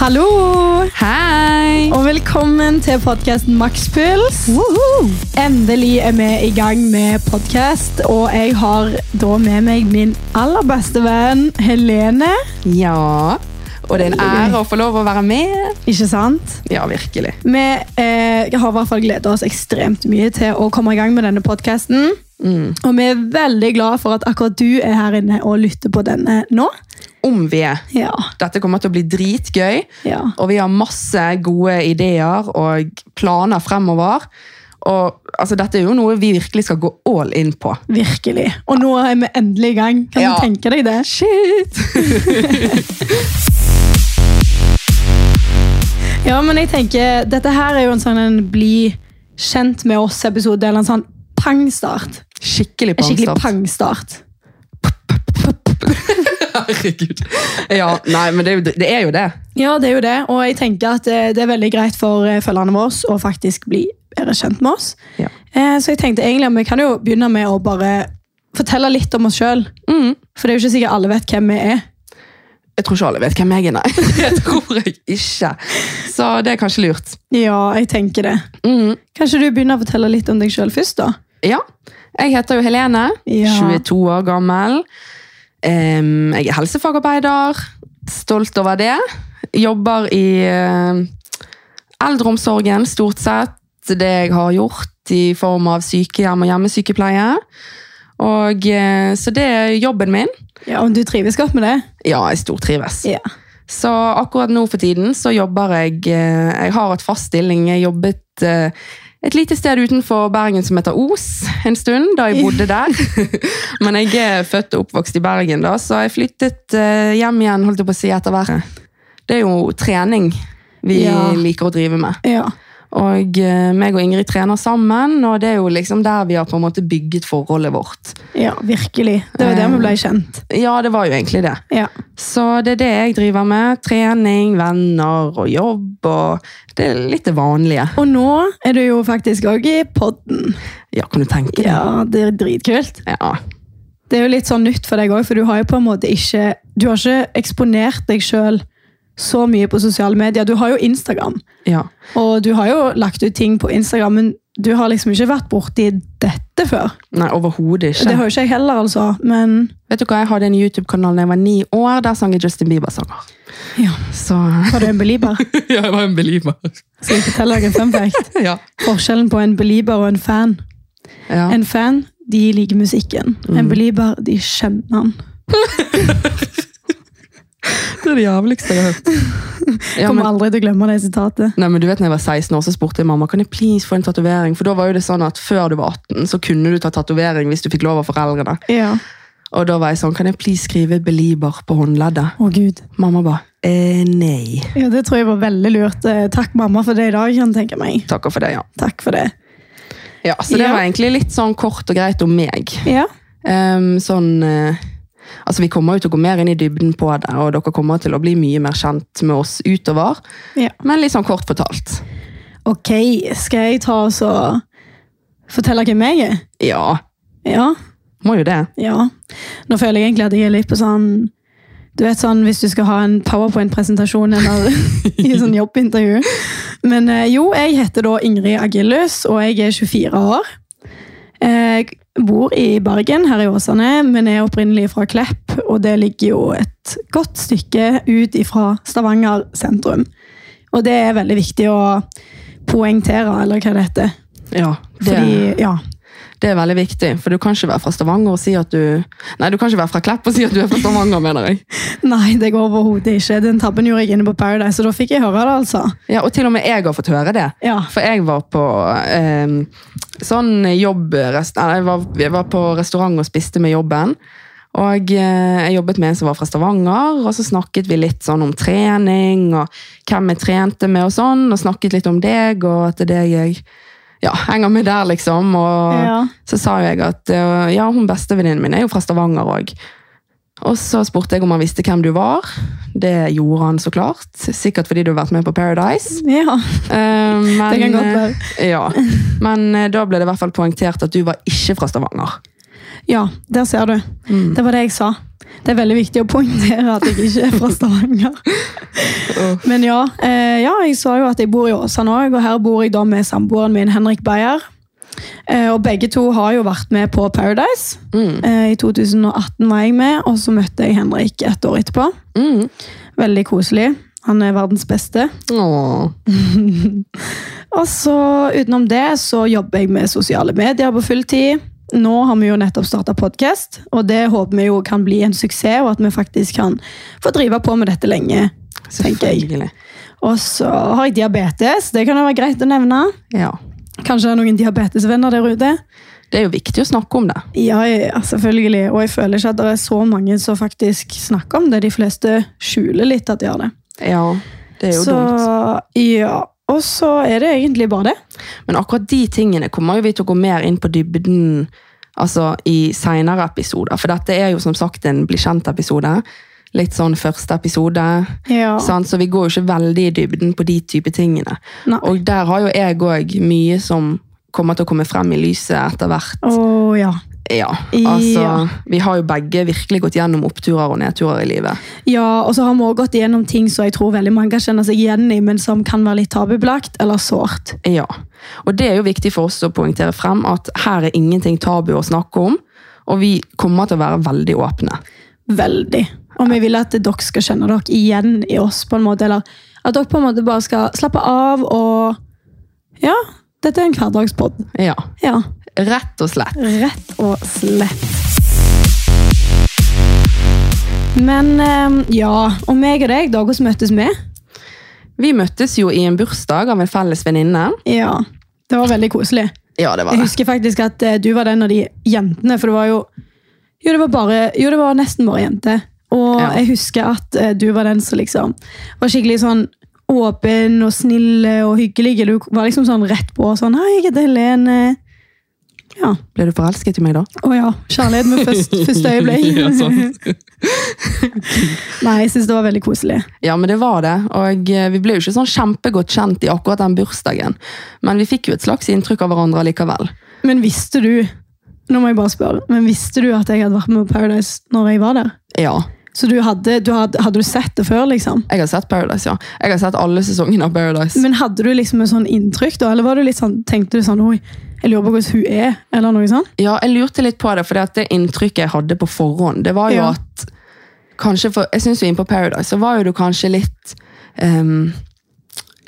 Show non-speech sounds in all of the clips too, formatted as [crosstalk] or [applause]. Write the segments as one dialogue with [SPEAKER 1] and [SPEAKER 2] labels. [SPEAKER 1] Hallo!
[SPEAKER 2] Hei!
[SPEAKER 1] Og velkommen til podkasten Makspuls. Endelig er vi i gang med podkast, og jeg har da med meg min aller beste venn Helene.
[SPEAKER 2] Ja. Og det er en ære å få lov å være med.
[SPEAKER 1] Ikke sant?
[SPEAKER 2] Ja, virkelig.
[SPEAKER 1] Vi eh, har i hvert fall gleda oss ekstremt mye til å komme i gang med denne podkasten. Og vi er veldig glad for at akkurat du er her inne og lytter på denne nå.
[SPEAKER 2] Om vi er.
[SPEAKER 1] Ja.
[SPEAKER 2] Dette kommer til å bli dritgøy,
[SPEAKER 1] ja.
[SPEAKER 2] og vi har masse gode ideer og planer fremover. Og altså, dette er jo noe vi virkelig skal gå all in på.
[SPEAKER 1] Virkelig. Og nå er vi endelig i gang. Kan
[SPEAKER 2] Ja.
[SPEAKER 1] du tenke deg det?
[SPEAKER 2] Shit!
[SPEAKER 1] [laughs] Ja, men jeg tenker, dette her er jo en sånn en bli kjent med oss-episode, eller en sånn pangstart.
[SPEAKER 2] Skikkelig
[SPEAKER 1] En skikkelig
[SPEAKER 2] pangstart.
[SPEAKER 1] pangstart.
[SPEAKER 2] [laughs] Herregud. Ja, nei, men det er jo det. Er jo det.
[SPEAKER 1] Ja, det er jo det, og jeg tenker at eh, det er veldig greit for eh, følgerne våre å faktisk bli bedre kjent med oss.
[SPEAKER 2] Ja.
[SPEAKER 1] Eh, Så jeg tenkte egentlig at vi kan jo begynne med å bare fortelle litt om oss sjøl.
[SPEAKER 2] Mm.
[SPEAKER 1] For det er jo ikke sikkert alle vet hvem vi er.
[SPEAKER 2] Jeg tror ikke alle vet hvem jeg er, nei. [laughs] Det tror jeg ikke. Så det er kanskje lurt.
[SPEAKER 1] Ja, jeg tenker det.
[SPEAKER 2] Mm.
[SPEAKER 1] Kanskje du begynner å fortelle litt om deg sjøl først, da?
[SPEAKER 2] Ja. Jeg heter jo Helene,
[SPEAKER 1] Ja.
[SPEAKER 2] 22 år gammel. Em, jeg er helsefagarbeider. Stolt over det. Jobber i eh, eldreomsorgen, stort sett. Det jeg har gjort i form av sykehjem og hjemmesykepleie. Og, eh, så det er jobben min.
[SPEAKER 1] Ja, Om du trives godt med det?
[SPEAKER 2] Ja, jeg stortrives.
[SPEAKER 1] Ja.
[SPEAKER 2] Så akkurat nå for tiden så jobber jeg eh, Jeg har et fast stilling. Jeg jobbet eh, et lite sted utenfor Bergen som heter Os en stund, da
[SPEAKER 1] [laughs]
[SPEAKER 2] jeg bodde der. Men jeg er født og oppvokst i Bergen, da, så jeg flyttet eh, hjem igjen holdt jeg på å si, etter været. Det er jo trening vi
[SPEAKER 1] Ja.
[SPEAKER 2] liker å drive med.
[SPEAKER 1] ja.
[SPEAKER 2] Og eh, meg og Ingrid trener sammen, og det er jo liksom der vi har på en måte bygget forholdet vårt.
[SPEAKER 1] Ja, virkelig. Det var der vi ble kjent.
[SPEAKER 2] Ja, det var jo egentlig det.
[SPEAKER 1] Ja.
[SPEAKER 2] Så det er det jeg driver med. Trening, venner og jobb. og Det er litt det vanlige.
[SPEAKER 1] Og nå er du jo faktisk òg i podden.
[SPEAKER 2] Ja, kan du tenke deg?
[SPEAKER 1] Ja, det er dritkult.
[SPEAKER 2] Ja.
[SPEAKER 1] Det er jo litt sånn nytt for deg òg, for du har jo på en måte ikke Du har ikke eksponert deg sjøl så mye på sosiale medier. Du har jo Instagram,
[SPEAKER 2] ja.
[SPEAKER 1] og du har jo lagt ut ting på Instagram, men du har liksom ikke vært borti dette før.
[SPEAKER 2] Nei, overhodet
[SPEAKER 1] Det
[SPEAKER 2] ikke.
[SPEAKER 1] har jo ikke jeg heller, altså, men
[SPEAKER 2] Vet du hva, Jeg hadde en YouTube-kanal da jeg var ni år. Der sang jeg Justin Bieber-sanger.
[SPEAKER 1] [laughs] Ja.
[SPEAKER 2] Så
[SPEAKER 1] Var du en belieber?
[SPEAKER 2] [laughs] Ja, jeg var en belieber.
[SPEAKER 1] Skal jeg fortelle deg en fun fact?
[SPEAKER 2] ja.
[SPEAKER 1] Forskjellen på en belieber og en fan.
[SPEAKER 2] ja.
[SPEAKER 1] En fan, de liker musikken. En belieber, de kjenner den.
[SPEAKER 2] Det er det jævligste jeg har hørt. [laughs] Ja,
[SPEAKER 1] Kommer
[SPEAKER 2] men,
[SPEAKER 1] aldri til å glemme det sitatet.
[SPEAKER 2] nei, men du vet, når jeg var 16 år, så spurte jeg mamma kan jeg please få en tatovering. For da var jo det sånn at før du var 18, så kunne du ta tatovering hvis du fikk lov av foreldrene.
[SPEAKER 1] Ja.
[SPEAKER 2] Og da var jeg sånn, kan jeg please skrive belieber på håndleddet?
[SPEAKER 1] Å, Gud.
[SPEAKER 2] Mamma bare eh, nei.
[SPEAKER 1] Ja, Det tror jeg var veldig lurt. Eh, Takk, mamma, for det i dag. kan jeg tenke meg.
[SPEAKER 2] Takker for det, ja.
[SPEAKER 1] Takk for det.
[SPEAKER 2] ja så det
[SPEAKER 1] Ja.
[SPEAKER 2] var egentlig litt sånn kort og greit om meg.
[SPEAKER 1] Ja,
[SPEAKER 2] Ehm, sånn eh, Altså, vi kommer jo til å gå mer inn i dybden på det, og dere kommer til å bli mye mer kjent med oss utover.
[SPEAKER 1] Ja.
[SPEAKER 2] Men litt sånn kort fortalt.
[SPEAKER 1] Ok, skal jeg ta og så fortelle hvem jeg er?
[SPEAKER 2] Ja,
[SPEAKER 1] Ja,
[SPEAKER 2] må jo det.
[SPEAKER 1] ja. Nå føler jeg egentlig at jeg er litt på sånn Du vet sånn hvis du skal ha en powerpoint-presentasjon eller [laughs] i sånn jobbintervju. Men eh, jo, jeg heter da Ingrid Agillus, og jeg er 24 år. Jeg bor i Bergen, her i Åsane, men er opprinnelig fra Klepp, og det ligger jo et godt stykke ut ifra Stavanger sentrum. Og det er veldig viktig å poengtere, eller hva det heter.
[SPEAKER 2] Ja, det,
[SPEAKER 1] Fordi, ja,
[SPEAKER 2] det er veldig viktig, for du kan ikke være fra Stavanger og si at du Nei, du kan ikke være fra Klepp og si at du er fra Stavanger, mener jeg.
[SPEAKER 1] Nei, det går overhodet ikke. Den tabben gjorde jeg inne på Paradise, og da fikk jeg høre det, altså.
[SPEAKER 2] Ja, Og til og med jeg har fått høre det.
[SPEAKER 1] Ja.
[SPEAKER 2] For jeg var på ehm, sånn jobb nei, jeg, var, jeg var på restaurant og spiste med jobben. Og eh, jeg jobbet med en som var fra Stavanger, og så snakket vi litt sånn om trening, og hvem jeg trente med og sånn, og snakket litt om deg, og at det er det jeg ja, henger med der, liksom. Og
[SPEAKER 1] Ja.
[SPEAKER 2] så sa jo jeg at eh, ja, hun bestevenninnen min er jo fra Stavanger òg. Og så spurte jeg om han visste hvem du var. Det gjorde han så klart. Sikkert fordi du har vært med på Paradise.
[SPEAKER 1] ja.
[SPEAKER 2] Eh, men,
[SPEAKER 1] Det kan godt være.
[SPEAKER 2] eh, Ja. Men eh, da ble det i hvert fall poengtert at du var ikke fra Stavanger. Mm.
[SPEAKER 1] Ja, der ser du. Det var det jeg sa. Det er veldig viktig å poengtere at jeg ikke er
[SPEAKER 2] [laughs]
[SPEAKER 1] fra Stavanger.
[SPEAKER 2] Uff.
[SPEAKER 1] Men ja, eh, ja jeg sa jo at jeg bor i Åsane òg, og her bor jeg da med samboeren min Henrik Beyer. Eh, og begge to har jo vært med på Paradise.
[SPEAKER 2] Mm.
[SPEAKER 1] Eh, I 2018 var jeg med, og så møtte jeg Henrik et år etterpå.
[SPEAKER 2] Mm.
[SPEAKER 1] Veldig koselig. Han er verdens beste.
[SPEAKER 2] Åh.
[SPEAKER 1] Og så utenom det så jobber jeg med sosiale medier på fulltid. Nå har vi jo nettopp starta podkast, og det håper vi jo kan bli en suksess, og at vi faktisk kan få drive på med dette lenge. tenker jeg.
[SPEAKER 2] Selvfølgelig.
[SPEAKER 1] Og så har jeg diabetes, det kan jo være greit å nevne.
[SPEAKER 2] Ja.
[SPEAKER 1] Kanskje det er noen diabetesvenner der ute?
[SPEAKER 2] Det er jo viktig å snakke om det.
[SPEAKER 1] Ja, ja, selvfølgelig. Og jeg føler ikke at det er så mange som faktisk snakker om det. De fleste skjuler litt at de har det.
[SPEAKER 2] Ja, det er jo
[SPEAKER 1] så,
[SPEAKER 2] dumt.
[SPEAKER 1] ja. Og så er det egentlig bare det.
[SPEAKER 2] Men akkurat de tingene kommer jo vi til å gå mer inn på dybden altså i senere episoder. For dette er jo som sagt en bli kjent-episode. Litt sånn første episode.
[SPEAKER 1] Ja.
[SPEAKER 2] sant? Så vi går jo ikke veldig i dybden på de type tingene.
[SPEAKER 1] Nei.
[SPEAKER 2] Og der har jo jeg òg mye som kommer til å komme frem i lyset etter hvert.
[SPEAKER 1] Å, ja.
[SPEAKER 2] Ja, altså,
[SPEAKER 1] Ja.
[SPEAKER 2] Vi har jo begge virkelig gått gjennom oppturer og nedturer i livet.
[SPEAKER 1] Ja, og så har vi også gått gjennom ting som jeg tror veldig mange kan kjenne seg igjen i, men som kan være litt tabubelagt eller sårt.
[SPEAKER 2] Ja, Og det er jo viktig for oss å poengtere frem at her er ingenting tabu å snakke om. Og vi kommer til å være veldig åpne.
[SPEAKER 1] Veldig. Og vi vil at dere skal kjenne dere igjen i oss, på en måte, eller at dere på en måte bare skal slappe av og Ja, dette er en hverdagspod.
[SPEAKER 2] Ja,
[SPEAKER 1] Ja,
[SPEAKER 2] Rett og slett.
[SPEAKER 1] rett og slett. Men eh, ja, og meg og deg, da, hvordan møttes vi?
[SPEAKER 2] Vi møttes jo i en bursdag av en felles venninne.
[SPEAKER 1] Ja, det var veldig koselig.
[SPEAKER 2] Ja, det var
[SPEAKER 1] Jeg
[SPEAKER 2] det.
[SPEAKER 1] husker faktisk at eh, du var den av de jentene, for det var jo Jo, det var, bare, jo, det var nesten bare jente. Og
[SPEAKER 2] Ja.
[SPEAKER 1] jeg husker at eh, du var den som liksom var skikkelig sånn åpen og snill og hyggelig. Du var liksom sånn rett på sånn Hei, jeg heter Helene. Ja.
[SPEAKER 2] Ble du forelsket i meg da?
[SPEAKER 1] Å ja. Kjærlighet med først, første øyeblikk.
[SPEAKER 2] [laughs] Ja, sant.
[SPEAKER 1] [laughs] Nei, jeg syns det var veldig koselig.
[SPEAKER 2] Ja, men det var det. Og eh, vi ble jo ikke sånn kjempegodt kjent i akkurat den bursdagen. Men vi fikk jo et slags inntrykk av hverandre likevel.
[SPEAKER 1] Men visste du Nå må jeg bare spørre. Men visste du at jeg hadde vært med på Paradise når jeg var der?
[SPEAKER 2] Ja,
[SPEAKER 1] Så du hadde, du hadde, hadde du sett det før, liksom?
[SPEAKER 2] jeg har sett Paradise, ja. Jeg har sett alle sesongene av Paradise.
[SPEAKER 1] Men hadde du liksom et sånn inntrykk da, eller var du litt sånn, tenkte du sånn, oi, jeg lurer på hvordan hun er, eller noe sånt?
[SPEAKER 2] Ja, jeg lurte litt på det, for det inntrykket jeg hadde på forhånd, det var jo
[SPEAKER 1] Ja.
[SPEAKER 2] at kanskje for, Jeg syns jo inne på Paradise så var jo du kanskje litt ehm,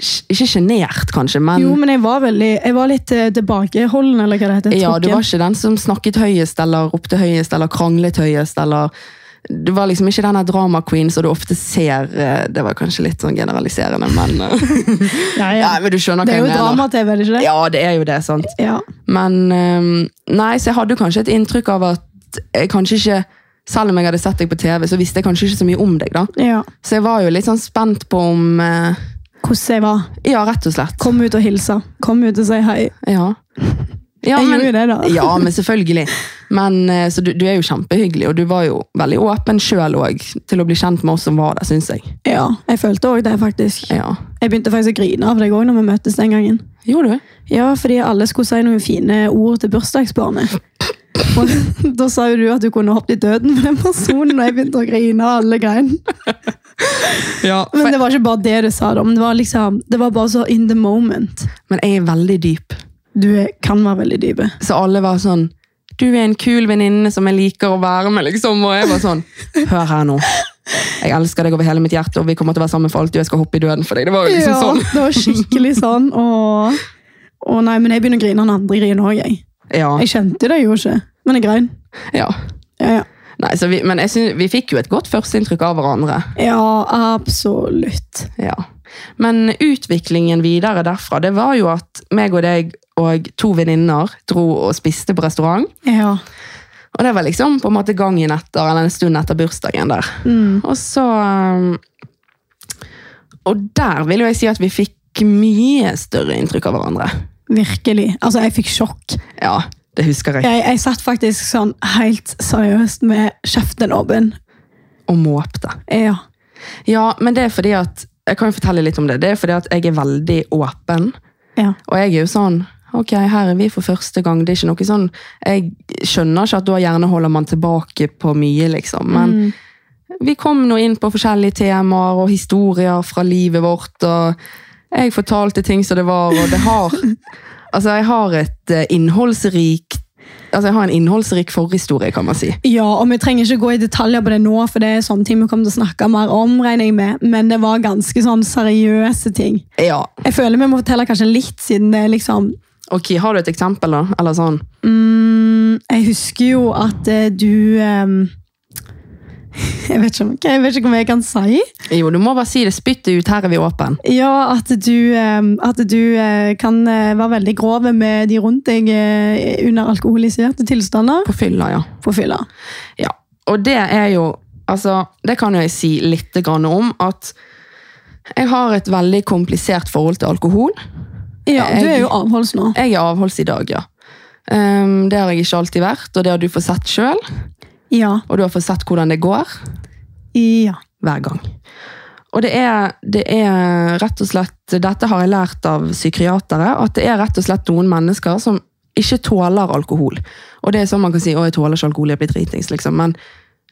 [SPEAKER 2] sj- Ikke sjenert, kanskje, men
[SPEAKER 1] Jo, men jeg var veldig, jeg var litt eh, tilbakeholden, eller hva det heter,
[SPEAKER 2] ja, du
[SPEAKER 1] trukken.
[SPEAKER 2] var ikke den som snakket høyest eller ropte høyest eller kranglet høyest. eller Du var liksom ikke den her drama queen som du ofte ser eh, Det var kanskje litt sånn generaliserende,
[SPEAKER 1] [laughs]
[SPEAKER 2] men, eh, [laughs]
[SPEAKER 1] ja, ja.
[SPEAKER 2] nei, men du skjønner
[SPEAKER 1] Det er
[SPEAKER 2] hva jeg
[SPEAKER 1] jo
[SPEAKER 2] mener.
[SPEAKER 1] drama-TV, er det ikke det?
[SPEAKER 2] Ja, det er jo det, sant.
[SPEAKER 1] Ja.
[SPEAKER 2] Men ehm, nei, så jeg hadde kanskje et inntrykk av at jeg kanskje ikke Selv om jeg hadde sett deg på TV, så visste jeg kanskje ikke så mye om deg. da.
[SPEAKER 1] ja.
[SPEAKER 2] Så jeg var jo litt sånn spent på om eh,
[SPEAKER 1] Hvordan jeg var.
[SPEAKER 2] Ja, rett og slett.
[SPEAKER 1] Kom ut og hilsa. Kom ut og si hei.
[SPEAKER 2] Ja. Ja,
[SPEAKER 1] Jeg gjorde jo det da.
[SPEAKER 2] [laughs] ja, men selvfølgelig. Men, eh, så du, du er jo kjempehyggelig, og du var jo veldig åpen sjøl òg til å bli kjent med oss som var der, syns jeg.
[SPEAKER 1] Ja, jeg følte også det, faktisk.
[SPEAKER 2] Ja.
[SPEAKER 1] Jeg begynte faktisk å grine av deg også når vi møttes den gangen.
[SPEAKER 2] Gjorde du?
[SPEAKER 1] Ja, fordi alle skulle si noen fine ord til bursdagsbarnet. Og [laughs] da sa jo du at du kunne hoppe i døden med den personen, og jeg begynte å grine av alle grein.
[SPEAKER 2] Ja,
[SPEAKER 1] Men det var ikke bare det du sa, da, men det var, liksom, det var bare så in the moment.
[SPEAKER 2] men jeg er veldig dyp.
[SPEAKER 1] Du er- kan være veldig dype.
[SPEAKER 2] Så alle var sånn Du er en kul venninne som jeg liker å være med, liksom. Og jeg var sånn Hør her nå. Jeg elsker deg over hele mitt hjerte, og vi kommer til å være sammen for alltid. Og jeg skal hoppe i døden for deg. Det var jo liksom
[SPEAKER 1] Ja,
[SPEAKER 2] sånn.
[SPEAKER 1] det var skikkelig sånn. Og, og nei, men jeg begynner å grine av den andre griner òg, jeg.
[SPEAKER 2] Ja,
[SPEAKER 1] Jeg kjente det jo ikke, men jeg grein.
[SPEAKER 2] ja.
[SPEAKER 1] Ja, ja.
[SPEAKER 2] Nei, så vi, men jeg synes, vi fikk jo et godt førsteinntrykk av hverandre.
[SPEAKER 1] ja, absolutt.
[SPEAKER 2] Ja. Men utviklingen videre derfra, det var jo at meg og deg og to venninner dro og spiste på restaurant.
[SPEAKER 1] Ja.
[SPEAKER 2] Og det var liksom på en måte gangen etter, eller en stund etter bursdagen der.
[SPEAKER 1] Mm.
[SPEAKER 2] Og så um, Og der vil jo jeg si at vi fikk mye større inntrykk av hverandre.
[SPEAKER 1] Virkelig. Altså, jeg fikk sjokk.
[SPEAKER 2] Ja, det husker jeg.
[SPEAKER 1] Jeg, jeg satt faktisk sånn helt seriøst med kjeften åpen.
[SPEAKER 2] Og måpte.
[SPEAKER 1] Ja.
[SPEAKER 2] Ja, men det er fordi at Jeg kan jo fortelle litt om det. Det er fordi at jeg er veldig åpen.
[SPEAKER 1] Ja.
[SPEAKER 2] Og jeg er jo sånn Ok, her er vi for første gang. Det er ikke noe sånn Jeg skjønner ikke at da gjerne holder man tilbake på mye, liksom. Men
[SPEAKER 1] Mm.
[SPEAKER 2] Vi kom nå inn på forskjellige temaer og historier fra livet vårt. og Jeg fortalte ting som det var, og det har Altså, jeg har et eh, innholdsrikt Altså, jeg har en innholdsrik forhistorie, kan man si.
[SPEAKER 1] Ja, og vi trenger ikke gå i detaljer på det nå, for det er sånne ting vi kommer til å snakke mer om, regner jeg med. Men det var ganske sånn seriøse ting.
[SPEAKER 2] Ja.
[SPEAKER 1] Jeg føler vi må fortelle kanskje litt, siden det er liksom
[SPEAKER 2] Ok, Har du et eksempel, da? Eller sånn?
[SPEAKER 1] Mm, jeg husker jo at eh, du ehm, [laughs] jeg, vet ikke om, jeg vet ikke om jeg kan si.
[SPEAKER 2] Jo, du må bare si det. Spytt det ut. Her er vi åpen.
[SPEAKER 1] Ja, at du, ehm, at du eh, kan eh, være veldig grov med de rundt deg eh, under alkoholiserte tilstander
[SPEAKER 2] På fylla, ja.
[SPEAKER 1] på fylla.
[SPEAKER 2] Ja, og det er jo Altså, det kan jo jeg si litt grann om at jeg har et veldig komplisert forhold til alkohol.
[SPEAKER 1] Ja, du er
[SPEAKER 2] Jeg-
[SPEAKER 1] jo avholds nå.
[SPEAKER 2] Jeg er avholds i dag, ja. Ehm, det har jeg ikke alltid vært, og det har du fått sett sjøl.
[SPEAKER 1] Ja.
[SPEAKER 2] Og du har fått sett hvordan det går
[SPEAKER 1] ja.
[SPEAKER 2] hver gang. Og det er, det er rett og slett Dette har jeg lært av psykiatere, at det er rett og slett noen mennesker som ikke tåler alkohol. Og det er sånn man kan si 'Å, jeg tåler ikke alkohol, jeg blir dritings', liksom. Men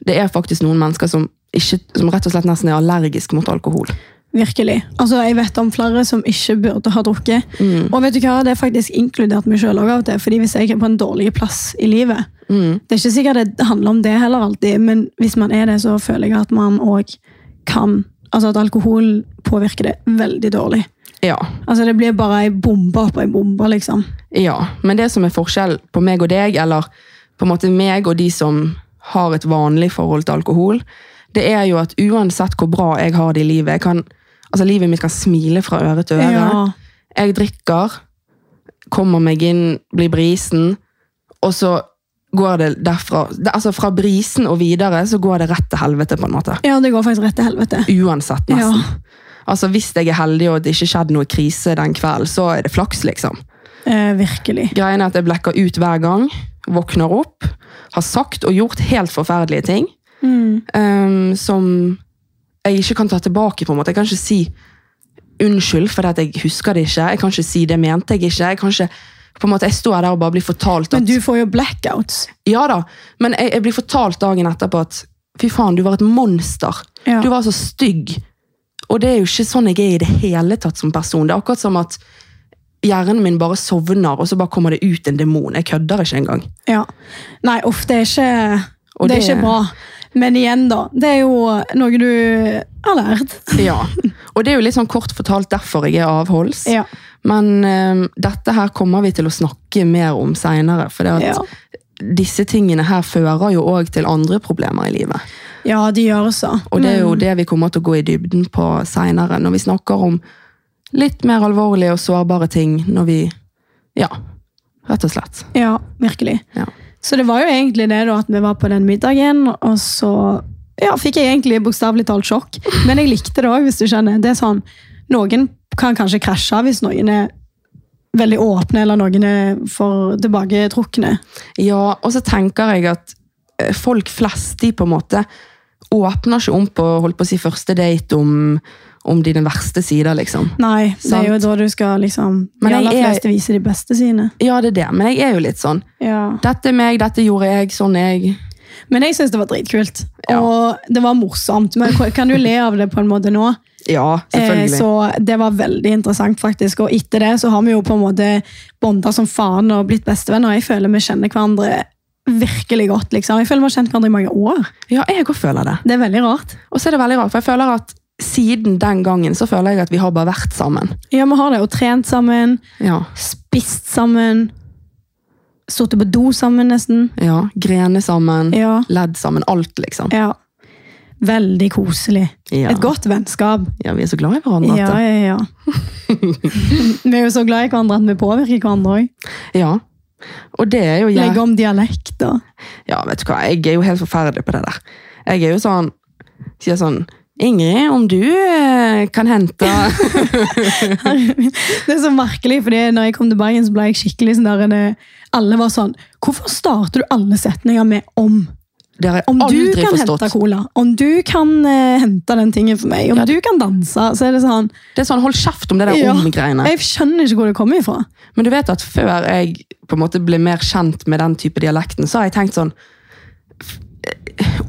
[SPEAKER 2] det er faktisk noen mennesker som, ikke, som rett og slett nesten er allergisk mot alkohol.
[SPEAKER 1] Virkelig. Altså, Jeg vet om flere som ikke burde ha drukket. Og vet du hva, det er faktisk inkludert meg sjøl òg. Fordi hvis jeg er på en dårlig plass i livet Det er ikke sikkert det handler om det heller alltid, men hvis man er det, så føler jeg at man òg kan Altså at alkohol påvirker det veldig dårlig.
[SPEAKER 2] Ja.
[SPEAKER 1] Altså Det blir bare ei bombe oppå ei bombe, liksom.
[SPEAKER 2] ja. Men det som er forskjell på meg og deg, eller på en måte meg og de som har et vanlig forhold til alkohol, det er jo at uansett hvor bra jeg har det i livet jeg kan, altså Livet mitt kan smile fra øre til øre.
[SPEAKER 1] Ja.
[SPEAKER 2] jeg drikker, kommer meg inn, blir brisen, og så går det derfra, det, altså fra brisen og videre, så går det rett til helvete på en måte.
[SPEAKER 1] ja, det går faktisk rett til helvete.
[SPEAKER 2] Uansett
[SPEAKER 1] Ja.
[SPEAKER 2] nesten. Altså hvis jeg er heldig og det ikke skjedde noe krise den kvelden, så er det flaks liksom.
[SPEAKER 1] Eh, virkelig.
[SPEAKER 2] Greien er at jeg blekker ut hver gang, våkner opp, har sagt og gjort helt forferdelige ting,
[SPEAKER 1] Mm.
[SPEAKER 2] ehm, som jeg ikke kan ta tilbake på en måte. Jeg kan ikke si unnskyld fordi at jeg husker det ikke. Jeg kan ikke si det mente jeg ikke. Jeg kan ikke på en måte, jeg står der og bare blir fortalt at
[SPEAKER 1] Men du får jo blackouts.
[SPEAKER 2] Ja da, men jeg, jeg blir fortalt dagen etterpå at fy faen, du var et monster.
[SPEAKER 1] Ja.
[SPEAKER 2] Du var så stygg. Og det er jo ikke sånn jeg er i det hele tatt som person. Det er akkurat som at hjernen min bare sovner, og så bare kommer det ut en demon. Jeg kødder
[SPEAKER 1] [laughs]
[SPEAKER 2] ikke engang.
[SPEAKER 1] Ja. Nei, uff, det er ikke,
[SPEAKER 2] Og
[SPEAKER 1] det er
[SPEAKER 2] det-
[SPEAKER 1] ikke bra. Men igjen, da. Det er jo noe du har lært.
[SPEAKER 2] Ja. Og det er jo litt sånn kort fortalt derfor jeg er avholds.
[SPEAKER 1] Ja.
[SPEAKER 2] Men eh, dette her kommer vi til å snakke mer om seinere. For det at
[SPEAKER 1] Ja.
[SPEAKER 2] disse tingene her fører jo òg til andre problemer i livet.
[SPEAKER 1] ja, de gjør så.
[SPEAKER 2] Og det er jo det vi kommer til å gå i dybden på seinere, når vi snakker om litt mer alvorlige og sårbare ting når vi Ja, rett og slett.
[SPEAKER 1] Ja, virkelig.
[SPEAKER 2] Ja.
[SPEAKER 1] Så det var jo egentlig det da, at vi var på den middagen, og så ja, fikk jeg egentlig bokstavelig talt sjokk. Men jeg likte det òg, hvis du skjønner. Det er sånn, Noen kan kanskje krasje hvis noen er veldig åpne, eller noen er for tilbaketrukne.
[SPEAKER 2] Ja, og så tenker jeg at eh, folk flest, de på en måte åpner ikke om på, holdt på å si, første date om, om dine verste sider, liksom.
[SPEAKER 1] Nei, det
[SPEAKER 2] Sant.
[SPEAKER 1] er jo da du skal liksom
[SPEAKER 2] Men
[SPEAKER 1] De
[SPEAKER 2] jeg
[SPEAKER 1] aller
[SPEAKER 2] er-
[SPEAKER 1] fleste viser de beste sine.
[SPEAKER 2] Ja, det er det, men jeg er jo litt sånn
[SPEAKER 1] Ja.
[SPEAKER 2] Dette er meg, dette gjorde jeg, sånn er jeg.
[SPEAKER 1] Men jeg syns det var dritkult.
[SPEAKER 2] Ja.
[SPEAKER 1] Og det var morsomt. Men jeg kan jo le av det på en måte nå?
[SPEAKER 2] Ja,
[SPEAKER 1] Eh,
[SPEAKER 2] selvfølgelig.
[SPEAKER 1] så det var veldig interessant, faktisk. Og etter det så har vi jo på en måte bonda som faen og blitt bestevenner. Jeg føler vi kjenner hverandre virkelig godt. liksom. Jeg føler vi har kjent hverandre i mange år.
[SPEAKER 2] ja, jeg òg føler det.
[SPEAKER 1] Det er veldig rart.
[SPEAKER 2] Og så er det veldig rart, for jeg føler at siden den gangen så føler jeg at vi har bare vært sammen.
[SPEAKER 1] Ja, vi har det. Og trent sammen,
[SPEAKER 2] Ja,
[SPEAKER 1] spist sammen, sittet på do sammen, nesten.
[SPEAKER 2] ja. Grene sammen,
[SPEAKER 1] Ja.
[SPEAKER 2] ledd sammen, alt, liksom.
[SPEAKER 1] ja. Veldig koselig.
[SPEAKER 2] Ja.
[SPEAKER 1] Et godt vennskap.
[SPEAKER 2] ja, vi er så glad i hverandre.
[SPEAKER 1] Ja,
[SPEAKER 2] Ja.
[SPEAKER 1] ja, ja.
[SPEAKER 2] [laughs]
[SPEAKER 1] vi er jo så glad i hverandre at vi påvirker hverandre òg.
[SPEAKER 2] ja. Og det er jo jævlig
[SPEAKER 1] Legger om dialekt og
[SPEAKER 2] Ja, vet du hva, jeg er jo helt forferdelig på det der. Jeg er jo sånn Sier sånn Ingrid, om du eh, kan hente [laughs]
[SPEAKER 1] Det er så merkelig, fordi når jeg kom til Bergen, så ble jeg skikkelig sånn der en, eh, Alle var sånn Hvorfor starter du alle setninger med om?
[SPEAKER 2] Det har jeg
[SPEAKER 1] Om du
[SPEAKER 2] aldri
[SPEAKER 1] kan
[SPEAKER 2] forstått.
[SPEAKER 1] hente cola. Om du kan eh, hente den tingen for meg. Om du kan danse. Så er det sånn
[SPEAKER 2] Det er sånn, Hold kjeft om det der
[SPEAKER 1] Ja.
[SPEAKER 2] om-greiene.
[SPEAKER 1] Jeg skjønner ikke hvor det kommer ifra.
[SPEAKER 2] Men du vet at før jeg på en måte ble mer kjent med den type dialekten, så har jeg tenkt sånn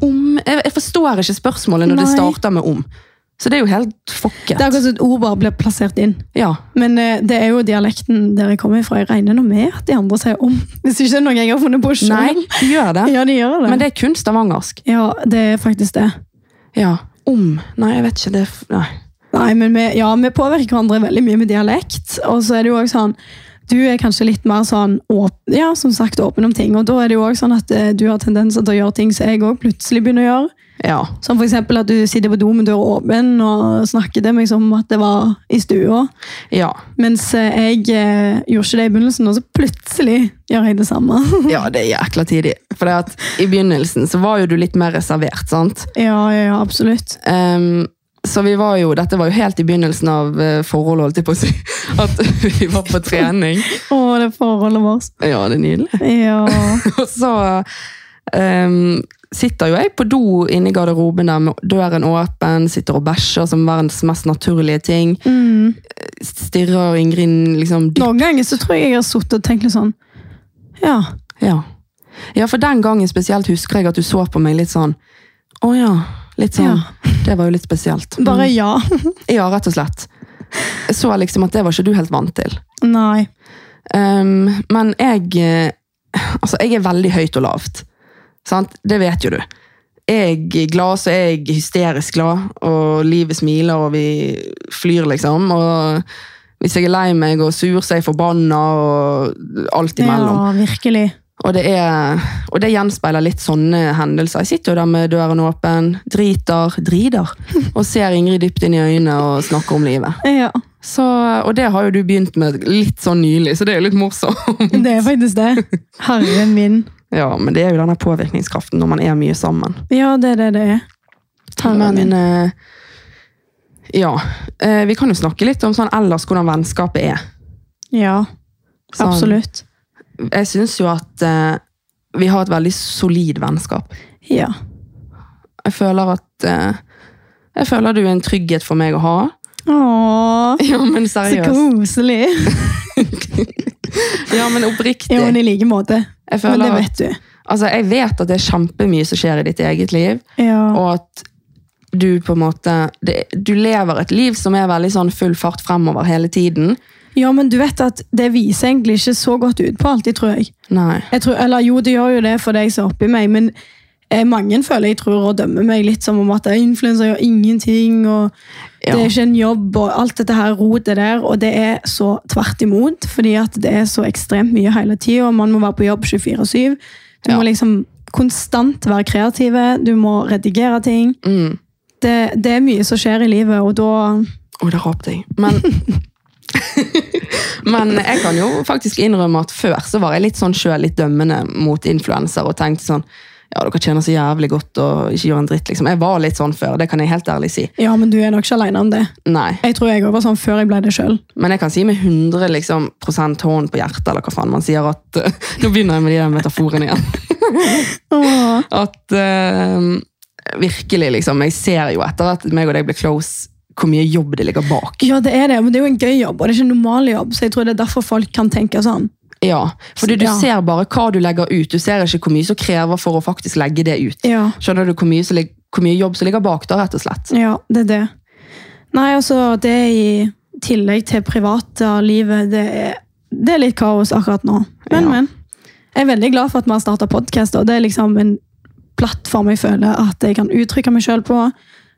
[SPEAKER 2] om Jeg, jeg forstår ikke spørsmålet når det
[SPEAKER 1] Nei.
[SPEAKER 2] starter med om. Så det er jo helt fucket.
[SPEAKER 1] Det er akkurat som et ord bare blir plassert inn.
[SPEAKER 2] Ja.
[SPEAKER 1] Men eh, det er jo dialekten der jeg kommer fra. Jeg regner nå med at de andre sier om. [laughs] Hvis ikke det er noe jeg har funnet på
[SPEAKER 2] Nei,
[SPEAKER 1] selv.
[SPEAKER 2] du gjør det.
[SPEAKER 1] [laughs] Ja, de gjør det.
[SPEAKER 2] Men det er kun stavangersk.
[SPEAKER 1] Ja, det er faktisk det.
[SPEAKER 2] Ja. Om Nei, jeg vet ikke. Det er f- Nei.
[SPEAKER 1] Nei, men vi, ja, vi påvirker hverandre veldig mye med dialekt. Og så er det jo også sånn Du er kanskje litt mer sånn åp, ja, som sagt, åpen om ting. Og da er det jo også sånn at eh, du har tendenser til å gjøre ting som jeg òg plutselig begynner å gjøre.
[SPEAKER 2] Ja.
[SPEAKER 1] Som for eksempel at du sitter på do med døra åpen og snakker til meg som at det var i stua. [laughs]
[SPEAKER 2] Ja.
[SPEAKER 1] Mens eh, jeg eh, gjorde ikke det i begynnelsen, og så plutselig gjør jeg det samme. [laughs]
[SPEAKER 2] ja, det er jækla tidlig. For det at i begynnelsen så var jo du litt mer reservert, sant?
[SPEAKER 1] ja, ja, ja, absolutt.
[SPEAKER 2] Ehm, så vi var jo, dette var jo helt i begynnelsen av eh, forholdet, holdt jeg på å si. [laughs] At vi var på
[SPEAKER 1] [laughs]
[SPEAKER 2] trening.
[SPEAKER 1] Å, det forholdet vårt.
[SPEAKER 2] Ja, det er nydelig.
[SPEAKER 1] Ja.
[SPEAKER 2] [laughs] Og så ehm, sitter jo jeg på do inne i garderoben der med døren åpen, sitter og bæsjer som verdens mest naturlige ting.
[SPEAKER 1] Mm.
[SPEAKER 2] Stirrer Ingrid liksom dypt.
[SPEAKER 1] Noen ganger så tror jeg jeg har sittet og tenkt litt sånn Ja.
[SPEAKER 2] Ja. ja, for den gangen spesielt husker jeg at du så på meg litt sånn Å ja. Litt sånn. Det var jo litt spesielt.
[SPEAKER 1] Bare ja. [laughs]
[SPEAKER 2] Ja, rett og slett. Jeg så liksom at det var ikke du helt vant til.
[SPEAKER 1] Nei.
[SPEAKER 2] Um, men jeg eh, Altså, jeg er veldig høyt og lavt. Sant? Det vet jo du. Jeg er glad, så er jeg hysterisk glad, og livet smiler, og vi flyr, liksom. Og hvis jeg er lei meg og sur, så er jeg forbanna, og alt imellom.
[SPEAKER 1] Ja, virkelig.
[SPEAKER 2] Og det, er, og det gjenspeiler litt sånne hendelser. Jeg sitter jo der med døren åpen, driter, drider, og ser Ingrid dypt inn i øynene og snakker om livet.
[SPEAKER 1] Ja,
[SPEAKER 2] Så, og det har jo du begynt med litt sånn nylig, så det er jo litt morsomt.
[SPEAKER 1] det er faktisk
[SPEAKER 2] [laughs]
[SPEAKER 1] det. Herre min.
[SPEAKER 2] Ja, men det er jo denne påvirkningskraften når man er mye sammen.
[SPEAKER 1] Ja, det er det det er. Herre min.
[SPEAKER 2] Men eh, ja, eh, vi kan jo snakke litt om sånn ellers hvordan vennskapet er.
[SPEAKER 1] Ja,
[SPEAKER 2] Sånn,
[SPEAKER 1] absolutt.
[SPEAKER 2] Jeg syns jo at eh, vi har et veldig solid vennskap.
[SPEAKER 1] Ja.
[SPEAKER 2] Jeg føler at eh, Jeg føler du er en trygghet for meg å ha.
[SPEAKER 1] Åh,
[SPEAKER 2] [laughs] Ja, men
[SPEAKER 1] så
[SPEAKER 2] seriøst. [laughs]
[SPEAKER 1] koselig.
[SPEAKER 2] Ja, men oppriktig.
[SPEAKER 1] Jo, men i like måte. Men
[SPEAKER 2] Jeg
[SPEAKER 1] det
[SPEAKER 2] føler at,
[SPEAKER 1] vet du.
[SPEAKER 2] altså, jeg vet at det er kjempemye som skjer i ditt eget liv,
[SPEAKER 1] Ja.
[SPEAKER 2] og at du på en måte det, Du lever et liv som er veldig sånn full fart fremover hele tiden.
[SPEAKER 1] ja, men du vet at det viser egentlig ikke så godt ut på alltid, tror jeg.
[SPEAKER 2] Nei.
[SPEAKER 1] jeg tror, eller jo, det gjør jo det for deg som er oppi meg, men eh, mange føler jeg tror og dømmer meg litt som om at jeg er influenser gjør ingenting, og
[SPEAKER 2] Ja.
[SPEAKER 1] det er ikke en jobb, og alt dette her rotet der, og det er så tvert imot, fordi at det er så ekstremt mye hele tiden, og man må være på jobb 24-7. Du
[SPEAKER 2] Ja.
[SPEAKER 1] må liksom konstant være kreative, du må redigere ting.
[SPEAKER 2] Mm.
[SPEAKER 1] Det, det er mye som skjer i livet, og da
[SPEAKER 2] Å, der rapte jeg. Men
[SPEAKER 1] [laughs]
[SPEAKER 2] Men jeg kan jo faktisk innrømme at før så var jeg litt sånn selv litt dømmende mot influenser og tenkte sånn Ja, dere tjener så jævlig godt og ikke gjør en dritt, liksom. Jeg var litt sånn før, det kan jeg helt ærlig si.
[SPEAKER 1] Ja, men du er nok ikke alene om det.
[SPEAKER 2] Nei.
[SPEAKER 1] Jeg tror jeg også var sånn før jeg ble det selv.
[SPEAKER 2] Men jeg kan si med 100 liksom, prosent hånd på hjertet, eller hva faen man sier at [laughs] eh, Nå begynner jeg med de der metaforene igjen.
[SPEAKER 1] Åh.
[SPEAKER 2] At eh, virkelig, liksom Jeg ser jo etter at meg og deg ble close, hvor mye jobb det ligger bak.
[SPEAKER 1] Ja, det er det, men det er jo en gøy jobb, og det er ikke en normal jobb, så jeg tror det er derfor folk kan tenke sånn.
[SPEAKER 2] Ja, Fordi du
[SPEAKER 1] Ja.
[SPEAKER 2] ser bare hva du legger ut, du ser ikke hvor mye som krever for å faktisk legge det ut.
[SPEAKER 1] Ja,
[SPEAKER 2] Skjønner du hvor mye, som lig- hvor mye jobb som ligger bak da, rett og slett?
[SPEAKER 1] ja det er det. Nei, altså, det er i tillegg til privatlivet, det er, det er litt kaos akkurat nå. Men,
[SPEAKER 2] Ja.
[SPEAKER 1] men. Jeg er veldig glad for at vi har startet podcast, og det er liksom en plattform jeg føler at jeg kan uttrykke meg selv på.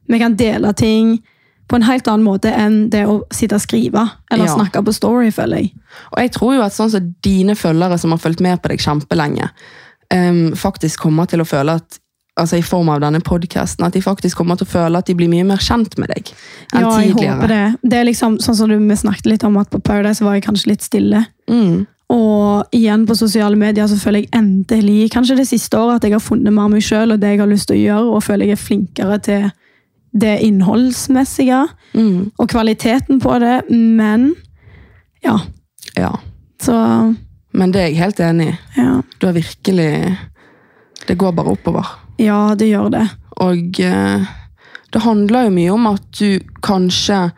[SPEAKER 1] Vi kan dele ting på en helt annen måte enn det å sitte og skrive, eller
[SPEAKER 2] Ja.
[SPEAKER 1] snakke på story, føler jeg.
[SPEAKER 2] Og jeg tror jo at sånn som dine følgere som har fulgt med på deg kjempelenge, em, faktisk kommer til å føle at altså i form av denne podcasten, at de faktisk kommer til å føle at de blir mye mer kjent med deg enn
[SPEAKER 1] Ja, jeg
[SPEAKER 2] tidligere.
[SPEAKER 1] håper det. Det er liksom, sånn som du, vi snakket litt om at på Paradise var jeg kanskje litt stille.
[SPEAKER 2] Mm,
[SPEAKER 1] Og igjen på sosiale medier så føler jeg endelig, kanskje det siste året, at jeg har funnet mer av meg sjøl og det jeg har lyst til å gjøre, og føler jeg er flinkere til det innholdsmessige
[SPEAKER 2] mm,
[SPEAKER 1] og kvaliteten på det. Men ja,
[SPEAKER 2] ja.
[SPEAKER 1] så
[SPEAKER 2] Men det er jeg helt enig i.
[SPEAKER 1] Ja,
[SPEAKER 2] Du har virkelig Det går bare oppover.
[SPEAKER 1] ja det gjør det.
[SPEAKER 2] Og eh, det handler jo mye om at du kanskje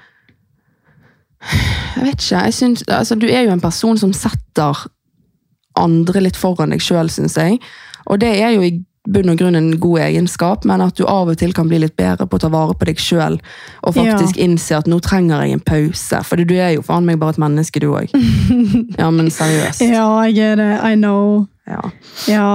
[SPEAKER 2] Jeg vet ikke. jeg synes, altså, Du er jo en person som setter andre litt foran deg sjøl, syns jeg. Og det er jo i bunn og grunn en god egenskap, men at du av og til kan bli litt bedre på å ta vare på deg sjøl og faktisk innse at nå trenger jeg en pause. For du er jo faen meg bare et menneske, du òg.
[SPEAKER 1] [laughs]
[SPEAKER 2] Ja, men seriøst.
[SPEAKER 1] Ja, jeg er det. I know.
[SPEAKER 2] Ja.
[SPEAKER 1] Ja.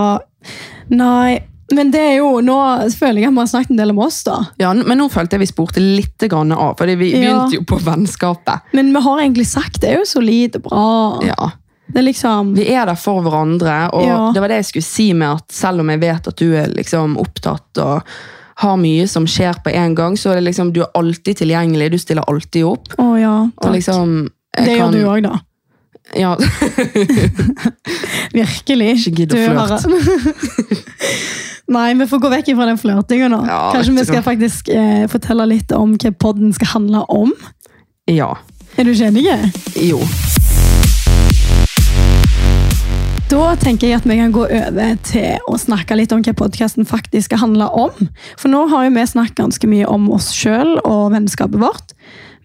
[SPEAKER 1] Nei, men det er jo Nå føler jeg at vi har snakket en del om oss, da.
[SPEAKER 2] Ja, n- men nå følte jeg vi spurte litt grann av, for vi
[SPEAKER 1] Ja.
[SPEAKER 2] begynte jo på vennskapet.
[SPEAKER 1] Men vi har egentlig sagt det er jo solid og bra.
[SPEAKER 2] Ja.
[SPEAKER 1] Det er liksom
[SPEAKER 2] Vi er der for hverandre, og
[SPEAKER 1] Ja.
[SPEAKER 2] det var det jeg skulle si med at selv om jeg vet at du er liksom opptatt og har mye som skjer på en gang, så er det liksom, du er alltid tilgjengelig, du stiller alltid opp.
[SPEAKER 1] Å ja.
[SPEAKER 2] Og
[SPEAKER 1] Takk.
[SPEAKER 2] liksom, jeg
[SPEAKER 1] det
[SPEAKER 2] kan-
[SPEAKER 1] gjør du òg, da.
[SPEAKER 2] Ja, [laughs]
[SPEAKER 1] Virkelig.
[SPEAKER 2] Ikke gidd å
[SPEAKER 1] Du
[SPEAKER 2] flørte.
[SPEAKER 1] har- [laughs] Nei, vi får gå vekk fra den flørtinga nå.
[SPEAKER 2] Ja,
[SPEAKER 1] Kanskje
[SPEAKER 2] vet
[SPEAKER 1] vi
[SPEAKER 2] du
[SPEAKER 1] skal faktisk eh, fortelle litt om hva podden skal handle om?
[SPEAKER 2] ja.
[SPEAKER 1] Er du ikke enig?
[SPEAKER 2] Jo.
[SPEAKER 1] Da tenker jeg at vi kan gå over til å snakke litt om hva podkasten faktisk skal handle om. For nå har jo vi snakket ganske mye om oss sjøl og vennskapet vårt.